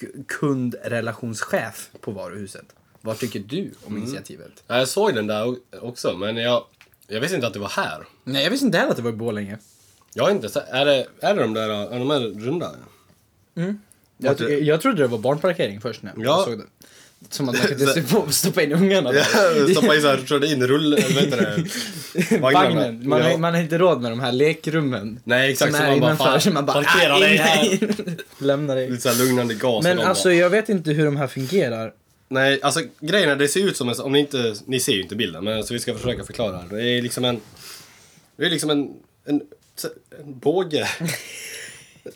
S2: k- kundrelationschef på varuhuset. Vad tycker du om
S3: Mm.
S2: initiativet?
S3: Ja, Jag såg den där o- också, men jag, jag visste inte att det var här.
S2: Nej, jag visste inte heller att det var i Borlänge.
S3: Jag har inte sett... Är det, är det de där... Är de här runda?
S2: Jag, ty- jag trodde det var barnparkering först när jag
S3: Ja.
S2: såg det. Som att man kunde se på- stoppa in ungarna där.
S3: Stoppa in såhär, körde in rull... Eller vad heter det? Vagnarna.
S2: Vagnen. Man,
S3: Ja.
S2: har, man har inte råd med de här lekrummen.
S3: Nej, exakt.
S2: Som
S3: Så
S2: är
S3: man bara,
S2: innanför,
S3: fan,
S2: så man bara
S3: parkera
S2: "Ah,
S3: dig
S2: nej,
S3: här."
S2: nej. Lämna dig.
S3: Lite såhär lugnande gas.
S2: Men
S3: och de
S2: alltså
S3: Bara,
S2: jag vet inte hur de här fungerar.
S3: nej, alltså grejen är det ser ut som en... Om ni inte... Ni ser ju inte bilden, men så vi ska försöka förklara. här. Det är liksom en... Det är liksom en... En, en båge.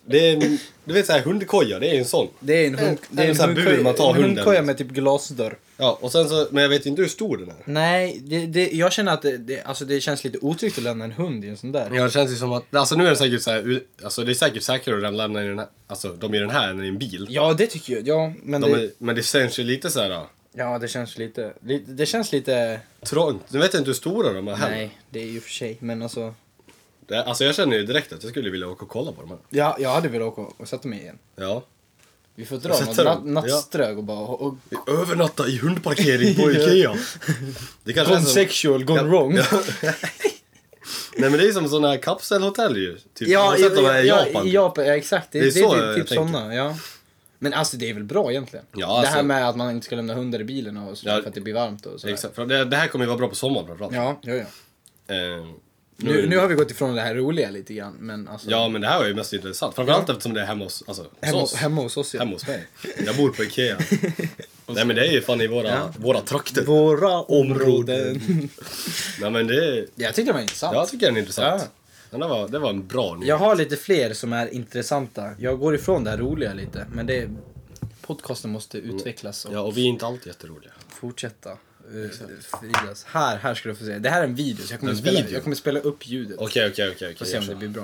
S3: det är en... Du vet såhär hundkoja, det är en sån.
S2: Det är en, hund,
S3: En- en sån här bur man tar
S2: en
S3: hunden.
S2: hundkoja med typ glasdörr.
S3: Ja, och sen så... Men jag vet inte hur stor den är.
S2: Nej, det, det, jag känner att det, det, alltså det känns lite otryggt att lämna en hund i en sån där.
S3: Ja, det känns ju som att... Alltså nu är det säkert så här, alltså det är säkert säkrare att lämna i den här, alltså de i den här än i en bil.
S2: Ja, det tycker jag. Ja, men
S3: De
S2: det,
S3: är, men det känns ju lite så här ja,
S2: ja, det känns lite... li- Det känns lite...
S3: trångt. Nu vet jag inte hur stora de är heller.
S2: Nej, det är ju för sig, men alltså...
S3: Det- Alltså jag känner ju direkt att jag skulle vilja åka och kolla på de här.
S2: Ja, jag hade velat åka och sätta mig igen.
S3: Ja.
S2: Vi får dra något
S3: Sätta
S2: nat-
S3: dem, ja.
S2: nattströg och bara... Och, och,
S3: Övernatta i hundparkering på Ikea. Det kanske är
S2: gone
S3: som-
S2: sexual, gone
S3: Ja.
S2: wrong.
S3: Ja. Nej men det är som sådana här kapselhotell ju. Typ. Har
S2: Ja,
S3: du sett de här i
S2: ja,
S3: Japan? typ.
S2: i Japan, ja exakt. Det,
S3: Det
S2: det,
S3: är så
S2: är
S3: jag
S2: typ, typ
S3: tänker.
S2: sådana. Ja. Men alltså det är väl bra egentligen?
S3: Ja, alltså-
S2: det här med att man inte ska lämna hundar i bilen och sådär
S3: Ja.
S2: för att det blir varmt och sådär.
S3: Exakt. Liksom. För det, det här kommer ju vara bra på sommaren framförallt.
S2: Ja, ja, ja.
S3: Eh,
S2: Nu, nu har vi gått ifrån det här roliga lite grann, men alltså.
S3: Ja men det här var ju mest intressant. Framförallt eftersom det är hemma hos, alltså, hos
S2: hemma,
S3: oss.
S2: hemma hos oss ja.
S3: Hemma hos mig. Jag bor på Ikea. Nej men det är ju fan i våra,
S2: Ja.
S3: våra trakter.
S2: Våra områden.
S3: Nej men det är,
S2: jag tyckte det var intressant.
S3: jag tycker den är intressant.
S2: Ja.
S3: Den där var, det var en bra nyhet.
S2: Jag har lite fler som är intressanta. Jag går ifrån det här roliga lite, men det... Podcasten måste utvecklas och
S3: Ja och vi är inte alltid jätteroliga.
S2: fortsätta. eh, fridas. Här, här ska du få se. Det här är en video, så jag kommer,
S3: En
S2: spela,
S3: video?
S2: jag kommer spela upp ljudet.
S3: Okej okej okej.
S2: Får
S3: okej, jag
S2: se om det
S3: kör.
S2: blir bra.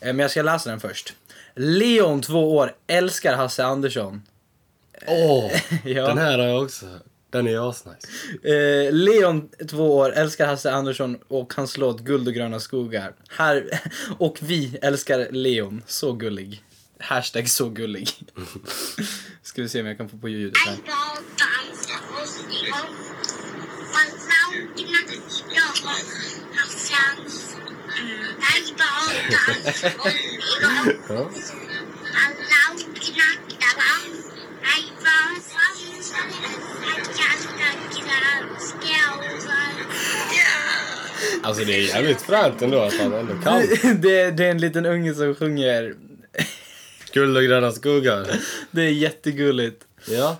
S2: Eh, Men jag ska läsa den först. Leon, två år, älskar Hasse Andersson.
S3: Åh!
S2: Ja.
S3: Den här har jag också. Den är ju asnice.
S2: Eh, Leon, två år, älskar Hasse Andersson och hans låt Guld och gröna skogar. Här, och vi älskar Leon. Så gullig. Hashtag så gullig. ska vi se om jag kan få på ljudet här.
S4: Eyeball bombs that most people find found in the snow of sounds. Eyeball bombs that most people are loud enough to bounce. Eyeballs are just a killer scale. Yeah.
S3: Alltså det är jävligt fränt ändå att han ändå kan.
S2: det, det är en liten unge som sjunger.
S3: Guld och gröna skogar.
S2: Det är jättegulligt.
S3: Ja.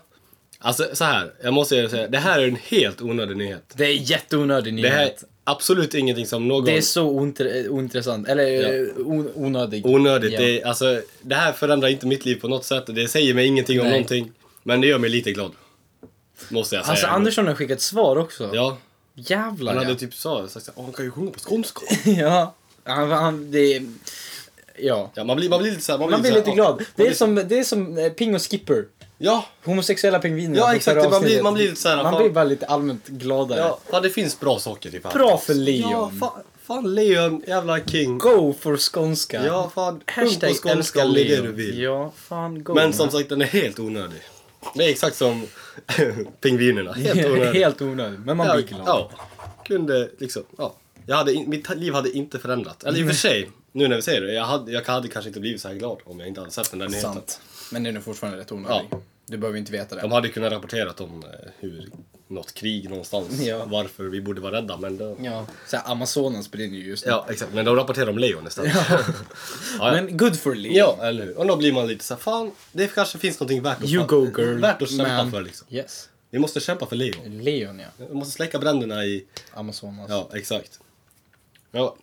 S3: Alltså så här. jag måste säga, det här är en helt onödig nyhet.
S2: Det är jätteonödig
S3: Det här är
S2: nyhet.
S3: absolut ingenting som någon...
S2: Det är så ointre- ointressant, eller eh,
S3: Ja.
S2: on- onödig.
S3: Onödigt.
S2: Ja.
S3: Det, är, alltså, det här förändrar inte mitt liv på något sätt. Det säger mig ingenting om
S2: Nej.
S3: någonting. Men det gör mig lite glad. Måste jag säga.
S2: Alltså Andersson har skickat svar också.
S3: Ja.
S2: Jävlar
S3: Han hade
S2: ja.
S3: typ sa, sagt såhär, "Åh, han kan ju sjunga på skånska.
S2: ja. Han, han, det är... Ja.
S3: ja, man blir, man blir lite såhär.
S2: Man blir
S3: såhär,
S2: lite
S3: "Åh."
S2: glad.
S3: Man
S2: Det är
S3: blir-
S2: som, det är som eh, Ping och Skipper.
S3: Ja,
S2: Homosexuella pingviner.
S3: Ja,
S2: från
S3: exakt. Man
S2: förra
S3: blir-
S2: avsnittet.
S3: man blir lite så här,
S2: Man
S3: fan.
S2: blir bara lite allmänt gladare.
S3: ja. Fan, det finns bra saker i fan.
S2: Bra för Leon.
S3: Ja, fan, fan Leon, jävla king.
S2: Go for skånska.
S3: Ja, fan. Sjung på
S2: Hashtag
S3: skånska
S2: älska
S3: om det är det
S2: Leon.
S3: du vill.
S2: Ja, fan go.
S3: Men som
S2: man.
S3: sagt, den är helt onödig. Det är exakt som pingvinerna. Helt onödigt.
S2: Helt onödigt, men man
S3: ja,
S2: blir glad.
S3: ja, kunde liksom, ja. Jag hade, in- mitt liv hade inte förändrats. Eller i och för sig, nu när vi säger det, jag hade, jag hade kanske inte blivit så här glad om jag inte hade sett den där nyheten.
S2: Sant. Men den är fortfarande rätt onödig.
S3: Ja.
S2: Du behöver inte veta det.
S3: De hade kunnat rapportera om eh, hur, något krig någonstans,
S2: Ja.
S3: varför vi borde vara rädda. Men, det,
S2: Ja, så här, Amazonas brinner ju just nu.
S3: ja, exakt, men de rapporterar om lejon istället. Ja. ja.
S2: Men good for Lee.
S3: Ja, eller hur? Och då blir man lite så här, fan, det kanske finns någonting värt att,
S2: You go girl.
S3: värt att kämpa
S2: man.
S3: för liksom.
S2: Yes.
S3: Vi måste kämpa för lejon.
S2: Leon ja.
S3: Vi måste släcka bränderna i
S2: Amazonas.
S3: Ja, exakt. Ja,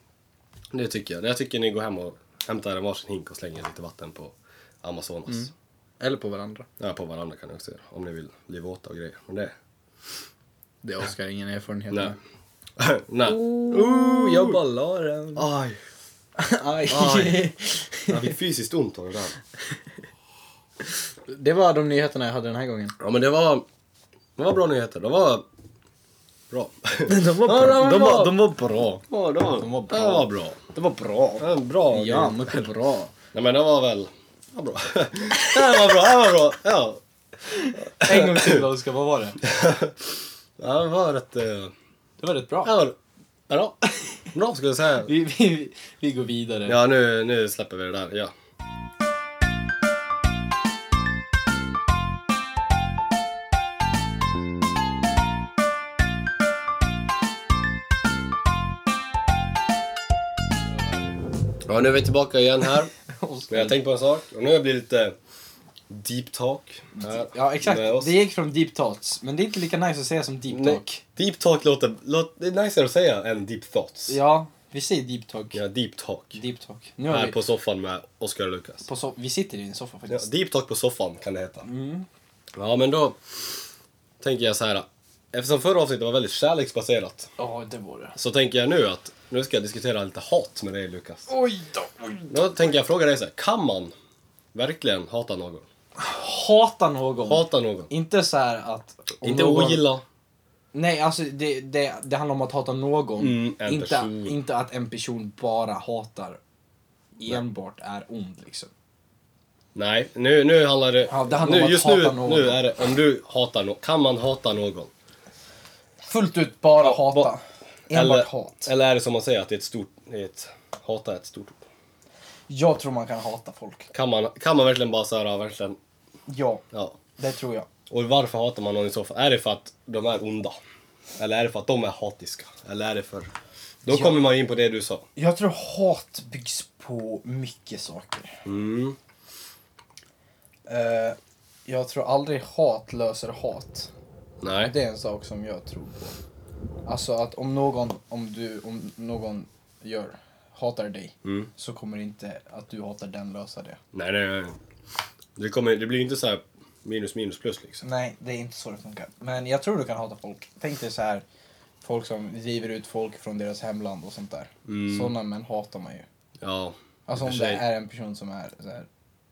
S3: det tycker jag. Jag tycker ni går hem och hämtar en varsin hink och slänger lite vatten på Amazonas.
S2: Mm. Eller på varandra.
S3: Ja, på varandra kan ni också göra, om ni vill bli våta och grejer. Men det...
S2: Det har Oskar ingen erfarenhet
S3: Nej.
S2: av.
S3: Nej.
S2: Ooh, jag bara la den.
S3: Aj!
S2: Aj.
S3: Ah. Aj. Jag fick fysiskt ont av det där.
S2: Det var de nyheterna jag hade den här gången.
S3: Ja, men det var... Det var bra nyheter. Det var... Bra.
S5: De var,
S3: Ja,
S5: bra.
S3: de var- de
S5: var bra.
S3: Ja, det var, det var bra. Det var bra.
S2: Det var bra.
S3: Det var bra.
S2: Ja, mycket bra.
S3: Nej, men det var väl... Det var bra. Det var bra. Det var bra. Ja.
S2: En gång till Oskar, vad var det?
S3: Ja, Det var rätt... eh,
S2: Det var rätt bra.
S3: Ja, bra. Bra skulle jag säga.
S2: Vi, vi, vi går vidare.
S3: Ja, nu, nu släpper vi det där. Ja. Ja, nu är vi tillbaka igen här. Men jag tänkte på en sak. Och nu blir det lite deep talk. Här
S2: Ja, exakt.
S3: med oss.
S2: Det gick från deep talks, men det är inte lika nice att säga som deep
S3: Nej,
S2: talk.
S3: Deep talk låter... låter det är nicer att säga än deep thoughts.
S2: Ja, vi säger deep talk.
S3: Ja, deep talk.
S2: Deep talk. Nu har
S3: Här
S2: vi,
S3: på soffan med Oscar och Lukas.
S2: på so- vi sitter i en soffa
S3: Ja,
S2: faktiskt.
S3: deep talk på soffan kan det heta.
S2: Mm.
S3: Ja, men då tänker jag så här. Eftersom förra avsnittet var väldigt kärleksbaserat
S2: Ja, det var det.
S3: så tänker jag nu att nu ska jag diskutera lite hat med dig Lukas.
S2: Oj då! oj.
S3: Då tänker jag fråga dig så här, kan man verkligen hata någon?
S2: Hata någon.
S3: Hata någon?
S2: Inte så här att... om
S3: Inte
S2: någon-
S3: ogilla?
S2: Nej, alltså det, det, det handlar om att hata någon.
S3: Mm, en
S2: inte,
S3: person.
S2: inte att en person bara hatar enbart är ond liksom.
S3: Nej, nu, nu handlar det...
S2: Ja, det handlar
S3: nu,
S2: om att
S3: just
S2: hata
S3: nu,
S2: någon.
S3: nu är det om du hatar någon. Kan man hata någon?
S2: Fullt ut bara hata.
S3: ba-
S2: enbart
S3: eller,
S2: hat.
S3: Eller är det som man säger att det är ett stort... det är Ett, hata är ett stort ord.
S2: Jag tror man kan hata folk.
S3: Kan man, kan man verkligen bara så här, ja, verkligen...
S2: Ja,
S3: Ja,
S2: det tror jag.
S3: Och varför hatar man någon i så fall? Är det för att de är onda? Eller är det för att de är hatiska? Eller är det för... Då kommer man in på det du sa.
S2: Jag tror hat byggs på mycket saker.
S3: Mm.
S2: Eh, jag tror aldrig hat löser hat.
S3: Nej.
S2: Det är en sak som jag tror på. Alltså att om någon, om du, om någon gör, hatar dig
S3: Mm.
S2: så kommer inte att du hatar den lösa det.
S3: Nej, det... Det, kommer, det blir inte så här minus minus plus liksom.
S2: Nej, det är inte så det funkar. Men jag tror du kan hata folk. Tänk dig så här, folk som driver ut folk från deras hemland och sånt där.
S3: Mm.
S2: Sådana män hatar man ju.
S3: Ja.
S2: Alltså
S3: I och
S2: om
S3: för
S2: det
S3: sig.
S2: är en person som är så här,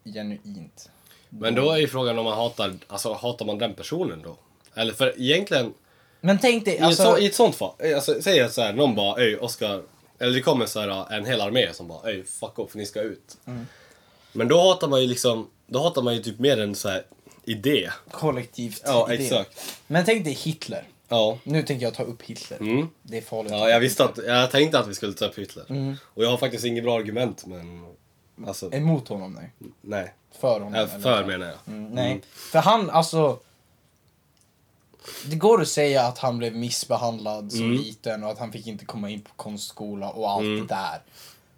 S2: genuint.
S3: Men då är ju frågan om man hatar... Alltså hatar man den personen då? Eller för egentligen...
S2: Men tänk dig,
S3: I, ett,
S2: alltså,
S3: så, i ett sånt fall. eh, Alltså, säg att så här, någon bara öj Oskar. Eller det kommer så här, eh, en hel armé som bara öj fuck off ni ska ut. Men då hatar man ju liksom... Då hatar man ju typ mer en så här idé.
S2: kollektivt.
S3: Ja,
S2: idé.
S3: exakt.
S2: Men tänk dig Hitler.
S3: Ja.
S2: Nu tänker jag ta upp Hitler.
S3: Mm.
S2: Det är farligt.
S3: Ja, jag visste att, jag tänkte att vi skulle ta upp Hitler.
S2: Mm.
S3: Och jag har faktiskt inget bra argument, men... Alltså,
S2: Emot honom nej.
S3: nej.
S2: För honom.
S3: Jag
S2: eller
S3: för
S2: så.
S3: menar jag.
S2: Mm, nej. För han, alltså. Det går att säga att han blev missbehandlad som
S3: Mm.
S2: liten och att han fick inte komma in på konstskola och allt det där.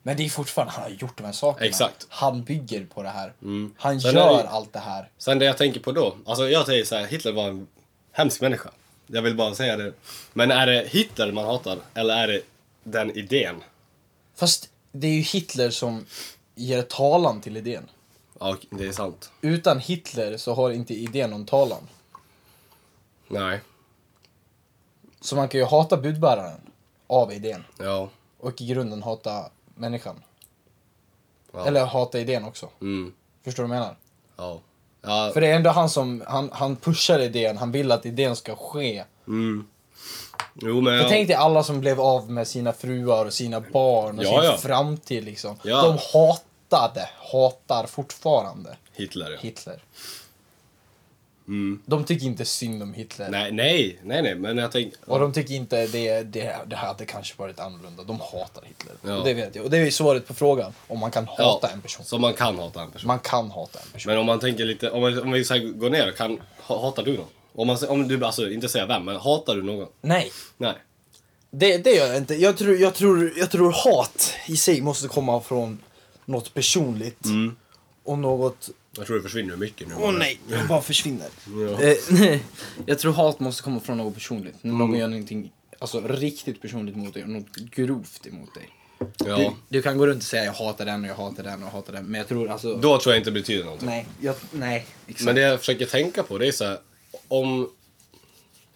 S2: Men det är fortfarande, han har gjort de här sakerna.
S3: Exakt.
S2: Han bygger på det här.
S3: Mm.
S2: Han
S3: Sen är
S2: gör
S3: det ju-
S2: allt det här.
S3: Sen det jag tänker på då, alltså jag säger så här, Hitler var en hemsk människa. Jag vill bara säga det. Men är det Hitler man hatar, eller är det den idén?
S2: Fast det är ju Hitler som ger talan till idén.
S3: Ja, och det är sant.
S2: Utan Hitler så har inte idén någon talan.
S3: Nej.
S2: Så man kan ju hata budbäraren av idén
S3: Ja.
S2: och i grunden hata människan.
S3: Ja.
S2: Eller hata idén också.
S3: Mm.
S2: Förstår du vad jag menar?
S3: Ja. Ja.
S2: För det är ändå han som han, han pushar idén, han vill att idén ska ske.
S3: Mm. Jo, men...
S2: För
S3: jag-
S2: tänk dig alla som blev av med sina fruar och sina barn och
S3: Ja,
S2: sin
S3: ja.
S2: framtid liksom.
S3: Ja.
S2: De hatade, hatar fortfarande
S3: Hitler, ja.
S2: Hitler.
S6: De tycker inte synd om Hitler.
S3: Mm. Nej, nej, nej, nej, men jag tänker...
S6: Och de tycker inte det, det, det hade kanske varit annorlunda. De hatar Hitler.
S3: Ja.
S6: Och det vet jag. Och det är ju svaret på frågan. Om man kan
S3: Ja,
S6: hata en person.
S3: Så man kan hata en person.
S6: Man kan hata en person.
S3: Men om man tänker lite, om, man, om vi så här går ner, kan, ha- hatar du någon? Om, man, om du, alltså inte säga vem, men hatar du någon?
S6: Nej,
S3: Nej.
S6: det, det gör jag inte. Jag tror, jag, tror, jag tror hat i sig måste komma från något personligt. Och något...
S3: Jag tror det försvinner mycket nu.
S6: Åh nej, jag bara försvinner.
S2: Eh, jag tror hat måste komma från något personligt. När
S6: Mm.
S2: någon gör någonting alltså, riktigt personligt mot dig och något grovt emot dig.
S3: Ja.
S2: Du, du kan gå runt och säga jag hatar den och jag hatar den och jag hatar den. Men jag tror alltså...
S3: Då tror jag inte det betyder någonting.
S2: nej, jag, nej. Exakt.
S3: Men det jag försöker tänka på det är så här, om,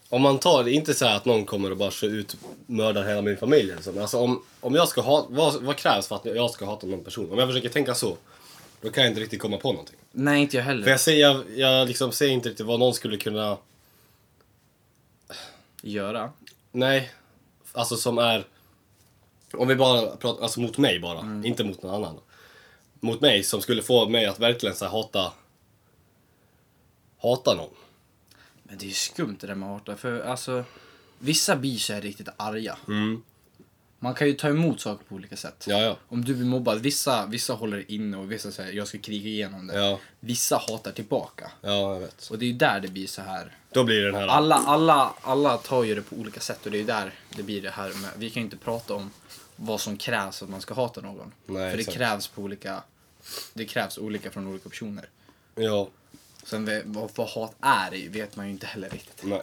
S3: om man tar, det är inte så här att någon kommer och bara kör ut mördar hela min familj. eller så, men Alltså om, om jag ska ha, vad, vad krävs för att jag ska hata någon person? Om jag försöker tänka så, då kan jag inte riktigt komma på någonting.
S2: Nej, inte jag
S3: För
S2: heller.
S3: jag ser, jag, jag liksom ser inte riktigt vad någon skulle kunna,
S2: Göra.
S3: nej, alltså som är, om vi bara pratar, alltså mot mig bara, inte mot någon annan. Mot mig som skulle få mig att verkligen så här, hata, hata någon.
S2: Men det är ju skumt det där med hatar. För alltså, vissa blir så här riktigt arga. Man kan ju ta emot saker på olika sätt.
S3: Mm. Ja, ja.
S2: Om du blir mobbad, vissa, vissa håller inne och vissa säger jag ska kriga igenom det.
S3: Ja.
S2: Vissa hatar tillbaka.
S3: Ja, jag vet.
S2: Och det är ju där det blir så här.
S3: Då blir det den här...
S2: Alla, alla, alla tar ju det på olika sätt och det är ju där det blir det här med, vi kan ju inte prata om vad som krävs för att man ska hata någon.
S3: Nej,
S2: för det
S3: exakt.
S2: krävs på olika, det krävs olika från olika personer.
S3: Ja.
S2: Sen ve- vad, vad hat är det vet man ju inte heller riktigt.
S3: Nej.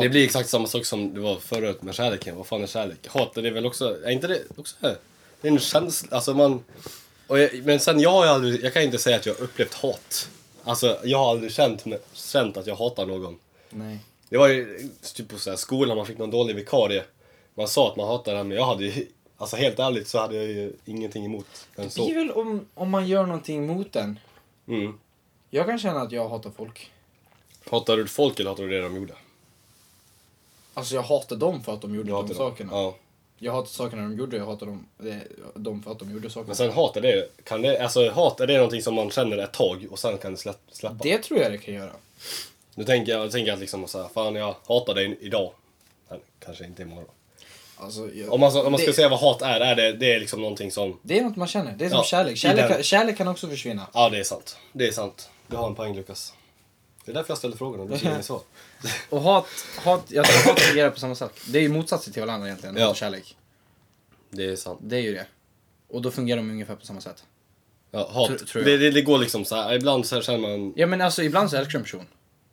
S3: Det blir exakt samma sak som det var förut med kärleken. Vad fan är kärlek? Hat det är väl också... Är inte det också... Det är en känsla. Alltså man... Och jag, men sen jag har ju aldrig... Jag kan inte säga att jag har upplevt hat. Alltså jag har aldrig känt, mig- känt att jag hatar någon.
S2: Nej.
S3: Det var ju typ på så här skolan, man fick någon dålig vikarie. Man sa att man hatade den, men jag hade ju... Alltså helt ärligt så hade jag ju ingenting emot den
S2: Det är
S3: så.
S2: väl om, om man gör någonting mot den.
S3: Mm.
S2: Jag kan känna att jag hatar folk.
S3: Hatar du folk eller hatar du det de gjorde?
S2: Alltså jag hatar dem för att de gjorde
S3: Du hatar
S2: de
S3: dem.
S2: sakerna.
S3: Ja.
S2: Jag hatar sakerna de gjorde, jag hatar dem, eh, dem för att de gjorde sakerna.
S3: Men sen hat, är det, kan det, alltså hat, är det någonting som man känner ett tag och sen kan det slä, släppa?
S2: Det tror jag det kan göra.
S3: Nu tänker jag, tänker jag liksom såhär, fan jag hatar dig idag. Men kanske inte imorgon.
S2: Alltså, jag,
S3: Om man, så- om man ska
S2: det,
S3: säga vad hat är, är det, det är liksom någonting som,
S2: det är något man känner. Det är som
S3: Ja,
S2: kärlek.
S3: i
S2: Kärlek,
S3: den-
S2: kan- kärlek kan också försvinna.
S3: ja det är sant. Det är sant. Du har en poäng Lukas. Det är därför jag ställer frågan och du säger inget svar.
S2: Och hat, hat, jag tror hat fungerar på samma sätt. Det är ju motsatsen till varandra egentligen,
S3: Ja.
S2: hat och kärlek.
S3: Det är sant.
S2: Det är ju det. Och då fungerar de ungefär på samma sätt.
S3: Ja, hat.
S2: Tror- tror jag.
S3: det, det, det går liksom såhär, ibland så här känner man,
S2: Ja men alltså ibland så älskar du en person.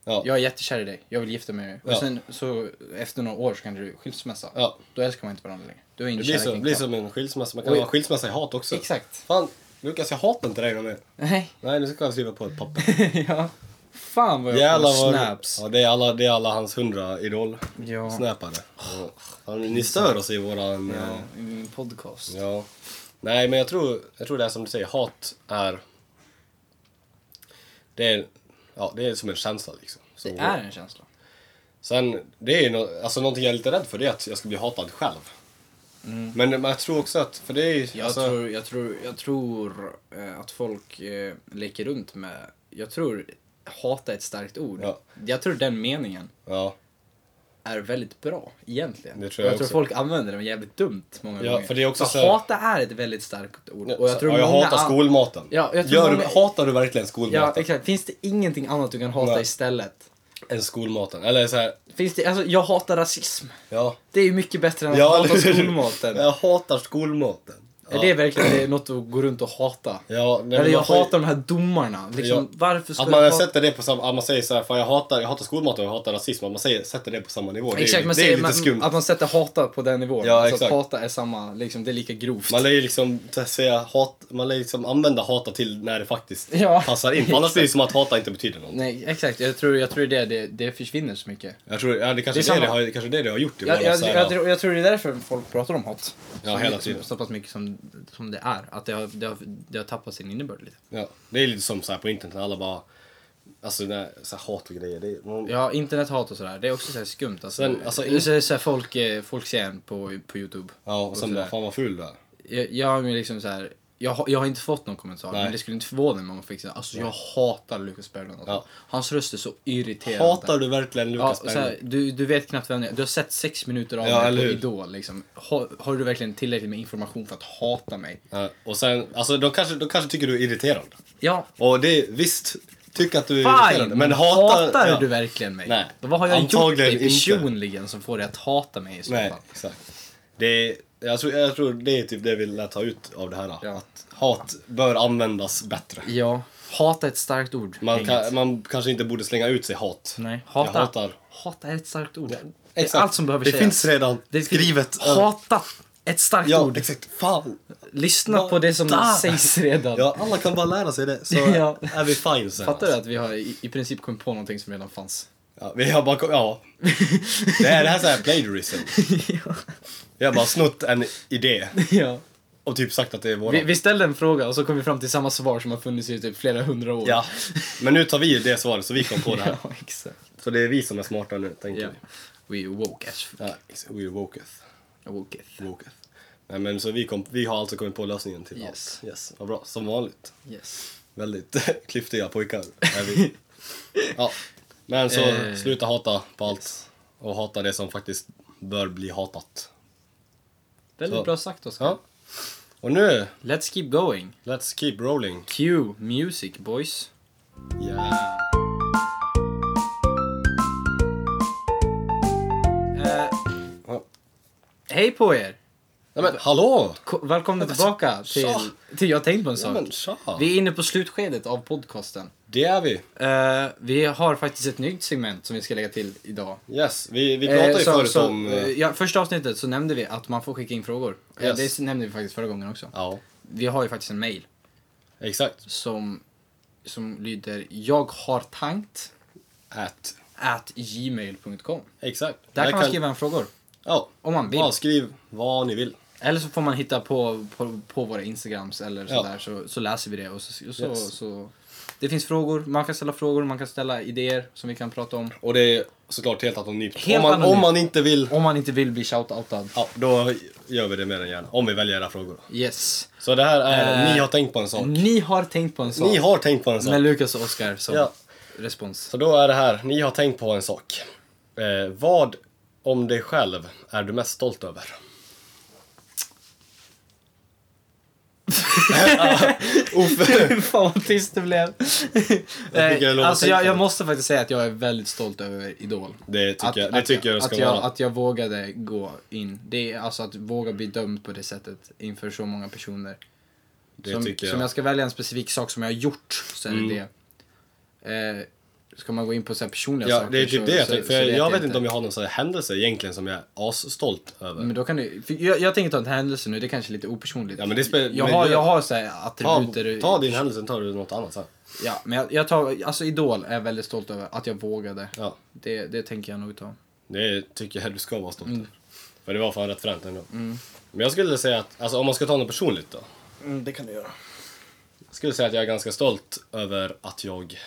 S3: ja.
S2: Jag är jättekär i dig, jag vill gifta mig med dig. Och
S3: Ja.
S2: sen så efter några år så kan det bli skilsmässa.
S3: Ja.
S2: Då älskar man inte varandra längre. Då är
S3: Det
S2: inte
S3: blir, så,
S2: kärleken
S3: blir
S2: kvar.
S3: som en skilsmässa, man kan
S2: Oj.
S3: ha skilsmässa i hat också.
S2: Exakt.
S3: Fan Lukas jag hatar inte dig någon mer.
S2: Nej.
S3: Nej nu ska jag skriva på ett papper.
S2: ja. Fan vad jag
S3: Jävlar
S2: får
S3: vad...
S2: snaps.
S3: Ja, det är alla, det är alla hans hundra idol
S2: Ja.
S3: snäpare. Ja. Ja, Ni stör oss i våran...
S2: Ja,
S3: Ja.
S2: i min podcast.
S3: ja. Nej men jag tror, jag tror det är som du säger, hat är... Det är, ja, det är som en känsla liksom. Så,
S2: Det är en känsla.
S3: Sen, det är ju nå- alltså, någonting jag är lite rädd för det är att jag ska bli hatad själv. Men, men jag tror också att, för det är ju...
S2: Mm. Jag
S3: alltså,
S2: tror, jag tror, jag tror eh, att folk eh, leker runt med, jag tror hata är ett starkt ord.
S3: Ja.
S2: Jag tror den meningen
S3: Ja,
S2: är väldigt bra egentligen.
S3: Det tror jag
S2: och jag
S3: också.
S2: tror folk använder den jävligt dumt många
S3: Ja,
S2: gånger.
S3: för det är också så här-
S2: hata är ett väldigt starkt ord.
S3: Ja,
S2: Och jag tror
S3: ja, jag
S2: många
S3: hatar
S2: an-
S3: skolmaten.
S2: Ja, jag tror
S3: Gör du,
S2: många-
S3: Hatar du verkligen
S2: Ja,
S3: skolmaten?
S2: exakt. Finns det ingenting annat du kan hata
S3: Nej.
S2: istället?
S3: Än skolmaten. Eller så här,
S2: Finns det, alltså, jag hatar rasism.
S3: ja.
S2: Det är ju mycket bättre än att
S3: Ja,
S2: hata
S3: eller hur?
S2: skolmaten.
S3: Jag hatar skolmaten.
S2: Är det verkligen det är något att gå runt och hata?
S3: Ja, nej,
S2: Eller
S3: men
S2: jag
S3: man får ju-
S2: hatar de här domarna. Liksom,
S3: Ja.
S2: Varför ska
S3: Att man
S2: jag hata...
S3: sätter det på samma, att man säger såhär, fan jag hatar, jag hatar skolmaten och jag hatar rasism, att man säger, sätter det på samma nivå. Det är,
S2: Exakt,
S3: ju-
S2: man
S3: det är ju
S2: säger
S3: lite skumt.
S2: man, att man sätter hata på den nivån.
S3: Ja,
S2: alltså att
S3: exakt.
S2: hata är samma, liksom, det är lika grovt.
S3: Man lär ju liksom så att säga, hat, man lär ju liksom använda hata till när det faktiskt
S2: Ja,
S3: passar in. För Annars blir det som att hata inte betyder något.
S2: Nej, exakt. Jag tror, jag tror det, är det, det försvinner så mycket.
S3: Jag tror, ja, det kanske
S2: Det
S3: det
S2: är
S3: är det,
S2: samma.
S3: har, det kanske är det det har gjort i
S2: Jag,
S3: våra
S2: jag,
S3: så
S2: jag,
S3: här-
S2: tror, jag tror det är därför folk pratar om hat.
S3: Ja,
S2: Så-
S3: hela
S2: så-
S3: tiden.
S2: Så pass mycket som, som det är. Att det har, det, har, det har tappat sin innebörd lite.
S3: ja, det är lite som så här på internet, när alla bara, alltså när, så här, hat och grejer. Det är, man,
S2: Ja, internethat och sådär. Det är också så här skumt. Alltså,
S3: Sen, alltså,
S2: det är så här, så här, folk, eh, folk ser en på, på Youtube.
S3: ja, och sen
S2: sådär.
S3: bara, fan vad ful du är.
S2: Jag, jag har ju liksom så här Jag, har- jag har inte fått någon kommentar,
S3: Nej.
S2: men det skulle inte förvåna mig om man fick säga alltså, jag hatar Lucas Berglund. Alltså.
S3: Ja.
S2: Hans röst är så irriterande.
S3: Hatar du verkligen
S2: ja,
S3: Lukas
S2: så här, du, du vet knappt vem det är. Du har sett sex minuter av
S3: Ja,
S2: mig
S3: eller
S2: på
S3: hur?
S2: Idol. Liksom. Har, har du verkligen tillräckligt med information för att hata mig?
S3: Ja, och sen, alltså de kanske, de kanske tycker du är irriterande.
S2: Ja,
S3: Och det, är- visst, tycker att du är irriterande.
S2: fine!
S3: Men hatar...
S2: hatar
S3: ja.
S2: du verkligen mig?
S3: Nej.
S2: Då vad har jag
S3: Antagligen
S2: gjort dig
S3: inte.
S2: personligen som får dig att hata mig i så
S3: Nej,
S2: fall?
S3: exakt. Det är, jag, tror, jag tror det är typ det vi lär ta ut av det här.
S2: Ja.
S3: Att hat bör användas bättre.
S2: Ja, hata är ett starkt ord.
S3: Man,
S2: Inget.
S3: kan, man kanske inte borde slänga ut sig hat.
S2: Nej, hata.
S3: Jag hatar.
S2: Hata är ett starkt ord. Det är
S3: Exakt.
S2: allt som behöver
S3: Det
S2: sägas.
S3: finns redan
S2: finns-
S3: skrivet.
S2: Hata, ett starkt
S3: Ja,
S2: ord.
S3: exakt. Fan!
S2: Lyssna på det som
S3: Där.
S2: sägs redan.
S3: Ja, alla kan bara lära sig det så
S2: Ja.
S3: är vi fine sen.
S2: Fattar du att vi har i, i princip kommit på någonting som redan fanns?
S3: Ja, vi har bara, kom- ja. Det är det här är så här plagiarism.
S2: ja.
S3: Vi har bara snott en idé
S2: ja.
S3: och typ sagt att det är våran.
S2: Vi, vi ställde en fråga och så kom vi fram till samma svar som har funnits i typ flera hundra år.
S3: Ja. Men nu tar vi det svaret så vi kom på det här.
S2: ja exakt.
S3: Så det är vi som är smarta nu, tänker
S2: Ja.
S3: vi.
S2: We woke as f-
S3: Ja, exakt. we woketh.
S2: woketh.
S3: woketh. Nej, men så vi, kom, vi har alltså kommit på lösningen till
S2: Yes.
S3: allt. Yes. Vad bra, som vanligt.
S2: Yes.
S3: Väldigt klyftiga pojkar är vi. ja. Men så
S2: Eh.
S3: sluta hata på allt och hata det som faktiskt bör bli hatat.
S2: Väldigt
S3: Så.
S2: bra sagt Oskar.
S3: Ja. Och nu,
S2: Let's keep going.
S3: let's keep rolling.
S2: Cue music boys.
S3: Yeah.
S2: Eh,
S3: Ja.
S2: Hej på er!
S3: Nej men hallå!
S2: Ko- Välkomna tillbaka till,
S3: tja.
S2: till Jag har tänkt på en
S3: Ja,
S2: sak.
S3: men tja!
S2: Vi är inne på slutskedet av podcasten.
S3: Det är vi.
S2: Eh, vi har faktiskt ett nytt segment som vi ska lägga till idag.
S3: Yes, vi, vi pratade
S2: Eh,
S3: ju
S2: så-
S3: förut
S2: så,
S3: om...
S2: eh,
S3: eh,
S2: ja, första avsnittet så nämnde vi att man får skicka in frågor. Eh,
S3: Yes.
S2: Det nämnde vi faktiskt förra gången också.
S3: Ja,
S2: Vi har ju faktiskt en mail
S3: exakt.
S2: som, som lyder jag har tankt
S3: At.
S2: at gmail.com.
S3: Exakt.
S2: Där
S3: Jag
S2: kan man skriva en frågor.
S3: Ja,
S2: Om man vill.
S3: bara skriv vad ni vill.
S2: Eller så får man hitta på, på, på våra Instagrams eller
S3: Ja.
S2: sådär, så, så läser vi det. Och så, och så,
S3: Yes.
S2: så, det finns frågor, man kan ställa frågor, man kan ställa idéer som vi kan prata om.
S3: Och det är såklart helt anonymt. om,
S2: Helt
S3: man,
S2: anonymt.
S3: om man inte vill,
S2: Om man inte vill bli shoutoutad.
S3: ja, då gör vi det mer än gärna. Om vi väljer era frågor.
S2: Yes.
S3: Så det här är,
S2: Eh,
S3: ni har tänkt på en sak.
S2: Ni har tänkt på en sak.
S3: Ni har tänkt på en sak.
S2: Med Lukas och Oskar som
S3: Ja.
S2: respons.
S3: Så då är det här, ni har tänkt på en sak. Eh, vad om dig själv är du mest stolt över? Offe.
S2: Fan vad tyst det blev.
S3: jag låter
S2: Eh, alltså jag,
S3: tänka.
S2: jag måste faktiskt säga att jag är väldigt stolt över Idol.
S3: Det tycker, jag, det tycker jag det ska
S2: att jag,
S3: vara.
S2: att jag vågade gå in. Det är alltså att våga bli dömd på det sättet inför så många personer.
S3: det
S2: som,
S3: tycker
S2: som
S3: jag. Mm.
S2: jag ska välja en specifik sak som jag har gjort så är det det. Eh, ska man gå in på så här personliga
S3: Ja,
S2: saker
S3: det är typ
S2: så,
S3: det jag
S2: så-
S3: tänker. För
S2: så
S3: jag, jag vet inte om jag har någon sån här händelse egentligen som jag är asstolt över.
S2: Men då kan du, för jag, jag tänker ta en händelse nu, det är kanske är lite opersonligt.
S3: Ja, men det spelar-
S2: jag,
S3: men
S2: har,
S3: det-
S2: jag har så här
S3: ta,
S2: attributer.
S3: ta din händelse, tar du något annat sen.
S2: Ja, men jag, jag tar, alltså Idol är jag väldigt stolt över att jag vågade.
S3: Ja,
S2: Det, det tänker jag nog ta.
S3: det tycker jag du ska vara stolt över. För det var fan rätt fränt ändå. Men jag skulle säga att, alltså om man ska ta något personligt då.
S2: Mm, det kan du göra.
S3: Jag skulle säga att jag är ganska stolt över att jag...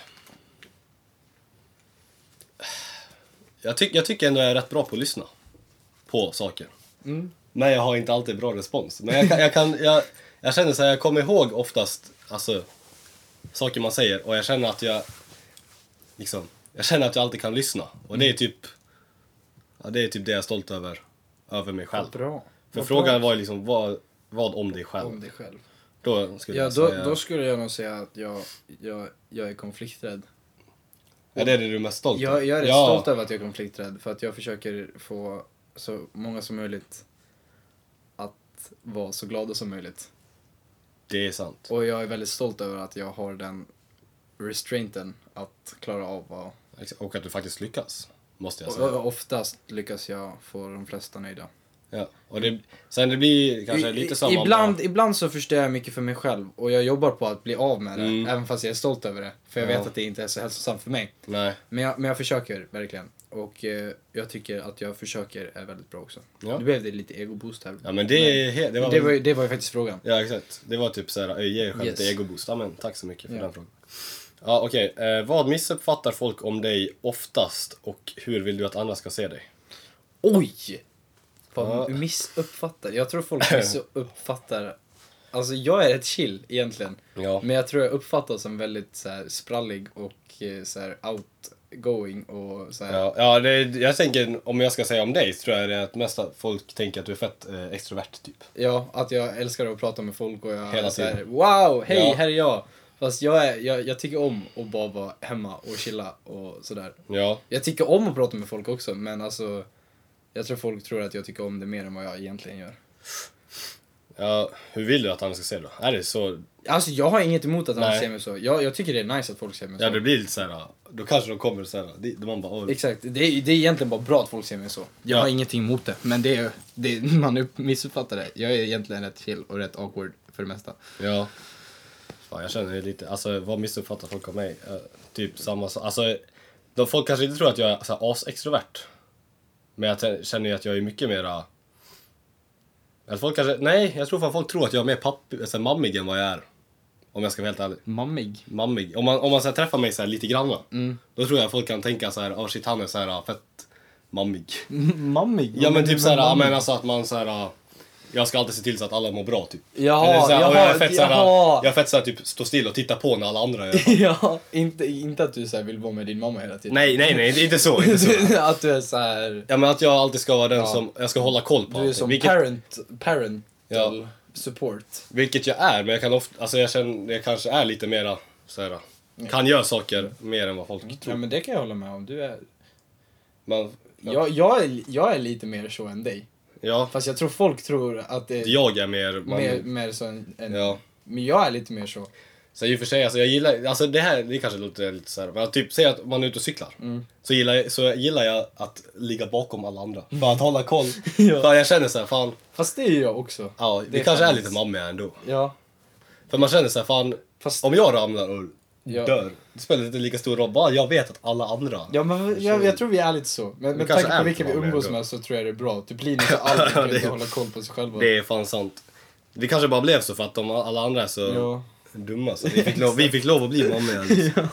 S3: Jag, tyck, jag tycker ändå jag är rätt bra på att lyssna på saker.
S2: Mm.
S3: Men jag har inte alltid bra respons. Men jag, kan, jag, kan, jag, jag känner så här, jag kommer ihåg oftast alltså, saker man säger och jag känner att jag liksom, jag känner att jag alltid kan lyssna. Och det är
S2: Mm.
S3: typ ja, det är typ det jag är stolt över, över mig själv.
S2: Bra.
S3: För frågan var ju liksom, vad, vad om dig själv?
S2: Om dig själv.
S3: Då skulle
S2: Ja,
S3: jag
S2: då,
S3: säga...
S2: då skulle jag nog säga att jag, jag, jag är konflikträdd.
S3: Ja, det är det du är mest stolt
S2: Jag, jag är rätt
S3: ja.
S2: stolt över att jag är konflikträdd för att jag försöker få så många som möjligt att vara så glada som möjligt.
S3: Det är sant.
S2: Och jag är väldigt stolt över att jag har den restrainten att klara av att
S3: Ex- Och att du faktiskt lyckas, måste jag
S2: och,
S3: säga.
S2: och oftast lyckas jag få de flesta nöjda.
S3: Ja. Och det, sen det blir kanske
S2: I-
S3: lite
S2: i-
S3: samma...
S2: ibland, ibland så förstör jag mycket för mig själv och jag jobbar på att bli av med det,
S3: Mm.
S2: även fast jag är stolt över det. För jag
S3: Ja.
S2: vet att det inte är så hälsosamt för mig.
S3: Nej.
S2: Men jag, men jag försöker verkligen. Och eh, jag tycker att jag försöker är väldigt bra också.
S3: Ja.
S2: Nu blev det lite egoboost här.
S3: Ja, men det, är he- det var...
S2: Men det, var ju, det var ju faktiskt frågan.
S3: Ja, exakt. Det var typ såhär, öj, ge er själv
S2: Yes.
S3: lite egoboost. Ja, men tack så mycket för
S2: Ja.
S3: den frågan. Ja, okej. Eh, vad missuppfattar folk om dig oftast och hur vill du att andra ska se dig?
S2: Oj! Vad
S3: Ja.
S2: missuppfattar. Jag tror folk missuppfattar alltså jag är rätt chill egentligen.
S3: Ja.
S2: Men jag tror jag uppfattas som väldigt så här, sprallig och eh, så här, outgoing och så här.
S3: Ja, ja det, jag tänker, om jag ska säga om dig, så tror jag det är att mesta folk tänker att du är fett eh, extrovert typ.
S2: Ja, att jag älskar att prata med folk och jag
S3: Hela
S2: är så här,
S3: tiden.
S2: Wow, hej,
S3: Ja.
S2: här är jag. Fast jag, är, jag, jag tycker om att bara vara hemma och chilla och sådär.
S3: Ja.
S2: Jag tycker om att prata med folk också, men alltså jag tror folk tror att jag tycker om det mer än vad jag egentligen gör.
S3: ja. Hur vill du att andra ska se då? Är det så?
S2: Alltså jag har inget emot att han
S3: Nej.
S2: ser mig så. Jag, jag tycker det är nice att folk ser mig
S3: Ja,
S2: så.
S3: det blir lite såhär, då kanske de kommer såhär, dit- då man bara "Åh."
S2: Exakt, det är, det är egentligen bara bra att folk ser mig så. Jag
S3: Ja.
S2: har ingenting emot det, men det är, det, man upp- missuppfattar det. Jag är egentligen rätt chill och rätt awkward för det mesta.
S3: Ja. Fan, jag känner det lite, alltså vad missuppfattar folk av mig? Eh, typ samma sak, alltså de, folk kanske inte tror att jag är såhär asextrovert. Men jag t- känner ju att jag är mycket mera... Att folk kanske, nej, jag tror fan folk tror att jag är mer papp, såhär, mammig än vad jag är. Om jag ska vara helt ärlig.
S2: Mammig.
S3: mammig. Om man, om man så här, träffar mig så här, lite grann, då tror jag folk kan tänka så här, oh, shit han är så här ah, fett mammig.
S2: mammig?
S3: Ja men typ så här, ah, men alltså att man så här, ah, jag ska alltid se till så att alla mår bra typ.
S2: Jaha,
S3: Eller så här, "Åh, jag är
S2: jaha,
S3: fett så här,
S2: jaha."
S3: ah, jag är fett så här, typ stå still och titta på när alla andra gör det.
S2: ja, inte, inte att du så här vill vara med din mamma hela tiden.
S3: Nej, nej, nej, inte så, inte så.
S2: att du är så här...
S3: Ja men att jag alltid ska vara den som, jag ska hålla koll på
S2: Du är
S3: allting.
S2: som
S3: vilket,
S2: parent, parental
S3: Ja.
S2: support.
S3: vilket jag är, men jag kan ofta, alltså jag känner, jag kanske är lite mera så här, ah, kan göra saker mer än vad folk tror.
S2: Ja men det kan jag hålla med om. Du är...
S3: Man, ja,
S2: Jag, jag, är, jag är lite mer så än dig.
S3: ja,
S2: Fast jag tror folk tror att det är
S3: jag är mer, man,
S2: mer, mer så än... än-
S3: ja.
S2: Men jag är lite mer så.
S3: Så i och för sig, alltså jag gillar, alltså det här det kanske låter lite såhär, men typ säg att man är ute och cyklar.
S2: Mm.
S3: Så, gillar, jag- så gillar jag att ligga bakom alla andra. För att hålla koll.
S2: Mm. Ja.
S3: För jag känner såhär, fan,
S2: Fast det är jag också.
S3: ja,
S2: Det
S3: det
S2: är
S3: kanske
S2: fan
S3: är lite
S2: nice.
S3: mammiga ändå.
S2: Ja.
S3: För man känner såhär, fan,
S2: Fast-
S3: om jag ramlar och
S2: Ja.
S3: dör, det spelar inte lika stor roll. Bara jag vet att alla andra...
S2: Ja, men jag, jag tror vi är lite så. Men med
S3: kanske
S2: tanke på
S3: är
S2: vilka vi
S3: lite
S2: umgås
S3: vanliga
S2: med så tror jag det är bra. Typ Linus har alltid
S3: det
S2: kunnat
S3: är-
S2: hålla koll på sig själv.
S3: Det är fan sant. Det kanske bara blev så för att de, alla andra är så
S2: Ja.
S3: dumma så vi fick, lov, vi fick lov att bli mammiga. Liksom.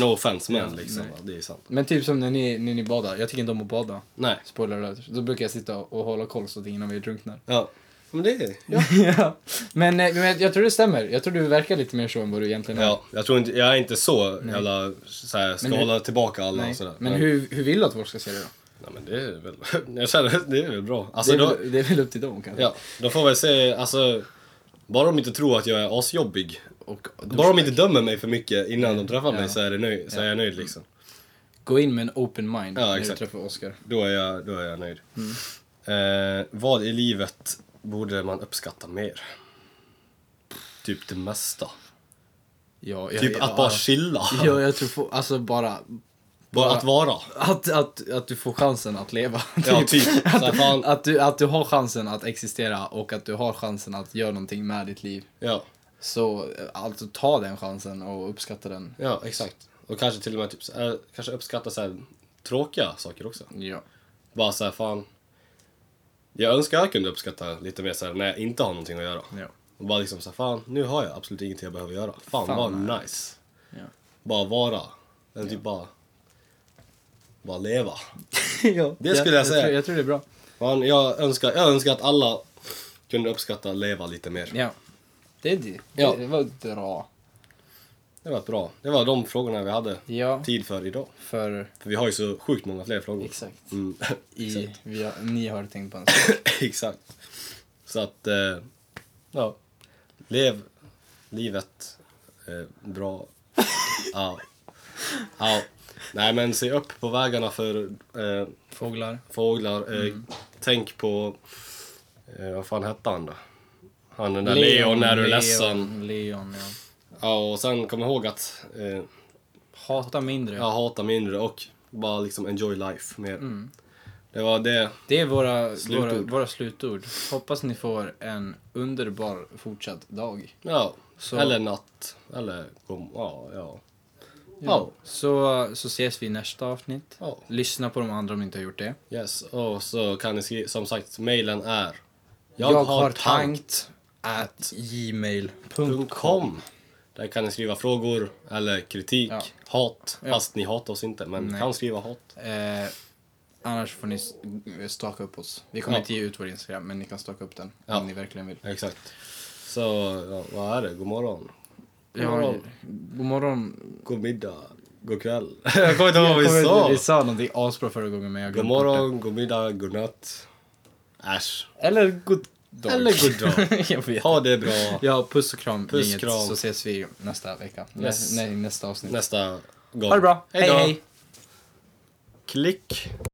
S3: No offense men liksom, det är sant.
S2: Men typ som när ni, när ni badar. Jag tycker inte om att bada.
S3: Nej.
S2: Spoiler alert. Då brukar jag sitta och hålla koll så att ingen av er drunknar.
S3: Ja. Men det är...
S2: ja. men, eh, men jag tror det stämmer. Jag tror du verkar lite mer så än vad du egentligen är.
S3: Ja, jag tror inte, jag är inte så jävla såhär, ska
S2: Men hur-
S3: hålla tillbaka alla
S2: Nej.
S3: och alltså, sådär.
S2: Men hur, hur vill du att folk ska se det då?
S3: Nej men det är väl, jag känner, det är väl bra. Alltså
S2: Det är,
S3: då,
S2: väl, det är väl upp till dem kanske?
S3: ja, de får väl se, alltså, bara de inte tror att jag är asjobbig.
S2: Och,
S3: Bara de inte dömer mig för mycket innan de träffar
S2: Ja.
S3: mig så är, det nöj, så är jag nöjd liksom.
S2: Gå in med en open mind
S3: Ja,
S2: när
S3: exakt.
S2: du träffar Oscar.
S3: Då är jag, då är jag nöjd.
S2: Mm.
S3: Eh, vad i livet borde man uppskatta mer? Typ det mesta.
S2: Ja, jag,
S3: Typ
S2: jag,
S3: att bara
S2: ja,
S3: chilla.
S2: ja, jag tror få, alltså bara
S3: Bara att vara.
S2: att, att, att du får chansen att leva.
S3: Ja, typ. Så här, fan,
S2: Att du, att du har chansen att existera och att du har chansen att göra någonting med ditt liv.
S3: ja.
S2: Så eh, alltså ta den chansen och uppskatta den.
S3: Ja, exakt. Och kanske till och med typ, så här, kanske uppskatta så här, tråkiga saker också.
S2: Ja.
S3: Bara så här, fan. Jag önskar jag kunde uppskatta lite mer så här, när jag inte har någonting att göra.
S2: Ja.
S3: Och bara liksom så här, fan nu har jag absolut ingenting jag behöver göra. Fan,
S2: Fan,
S3: vad nice.
S2: Ja.
S3: Bara vara. Eller typ bara... Bara leva.
S2: ja.
S3: Det skulle jag säga.
S2: Tror, jag tror det är bra.
S3: Fan, jag, önskar, jag önskar att alla kunde uppskatta leva lite mer.
S2: Ja. Det är det.
S3: Ja.
S2: Det var bra.
S3: Det var bra. Det var de frågorna vi hade
S2: Ja.
S3: tid för idag.
S2: För
S3: För vi har ju så sjukt många fler frågor.
S2: exakt.
S3: Mm.
S2: I, vi har, ni har tänkt på en sak.
S3: Exakt. Så att, eh, ja. Lev livet eh, bra. Ja. Ja. Nej men se upp på vägarna för eh,
S2: Fåglar.
S3: fåglar. Eh,
S2: Mm.
S3: Tänk på, eh, vad fan hette han då? Han den där
S2: Leon,
S3: Leon, när du är
S2: Leon,
S3: ledsen.
S2: Leon, ja.
S3: Ja och sen kom ihåg att eh,
S2: Hata mindre.
S3: jag hatar mindre och bara liksom enjoy life mer.
S2: Mm.
S3: Det var det.
S2: Det är våra slutord. Våra,
S3: Slutord.
S2: våra slutord. Hoppas ni får en underbar fortsatt dag.
S3: Ja.
S2: Så-
S3: Eller natt. Eller, kom, ja, ja.
S2: Ja. Så, så ses vi i nästa avsnitt.
S3: Ja.
S2: Lyssna på de andra om ni inte har gjort det.
S3: Yes, och så kan ni skriva, som sagt, mailen är
S2: at gmail.com
S3: gmail.com Där kan ni skriva frågor eller kritik,
S2: Ja.
S3: hat,
S2: Ja.
S3: fast ni hatar oss inte, men
S2: Nej.
S3: kan skriva hat.
S2: eh, Annars får ni s- staka upp oss. Vi kommer
S3: Ja.
S2: inte ge ut vår Instagram, men ni kan staka upp den
S3: Ja.
S2: om ni verkligen vill.
S3: Exakt. Så ja, vad är det? God morgon. God
S2: Ja,
S3: morgon.
S2: god morgon.
S3: God middag. God kväll. jag kommer inte ihåg vad vi sa.
S2: Vi sa någonting asbra förra gången men jag
S3: God
S2: glömde bort
S3: morgon, god middag, god natt. Äsch.
S2: det. Eller god dag.
S3: Eller god dag.
S2: jag vet.
S3: Ha det bra.
S2: Ja, puss och kram.
S3: Puss,
S2: gänget,
S3: kram.
S2: Så ses vi nästa vecka.
S3: Yes.
S2: Nej, nästa avsnitt.
S3: Nästa gång.
S2: Ha det bra.
S3: då.
S2: hej. hej.
S3: Klick.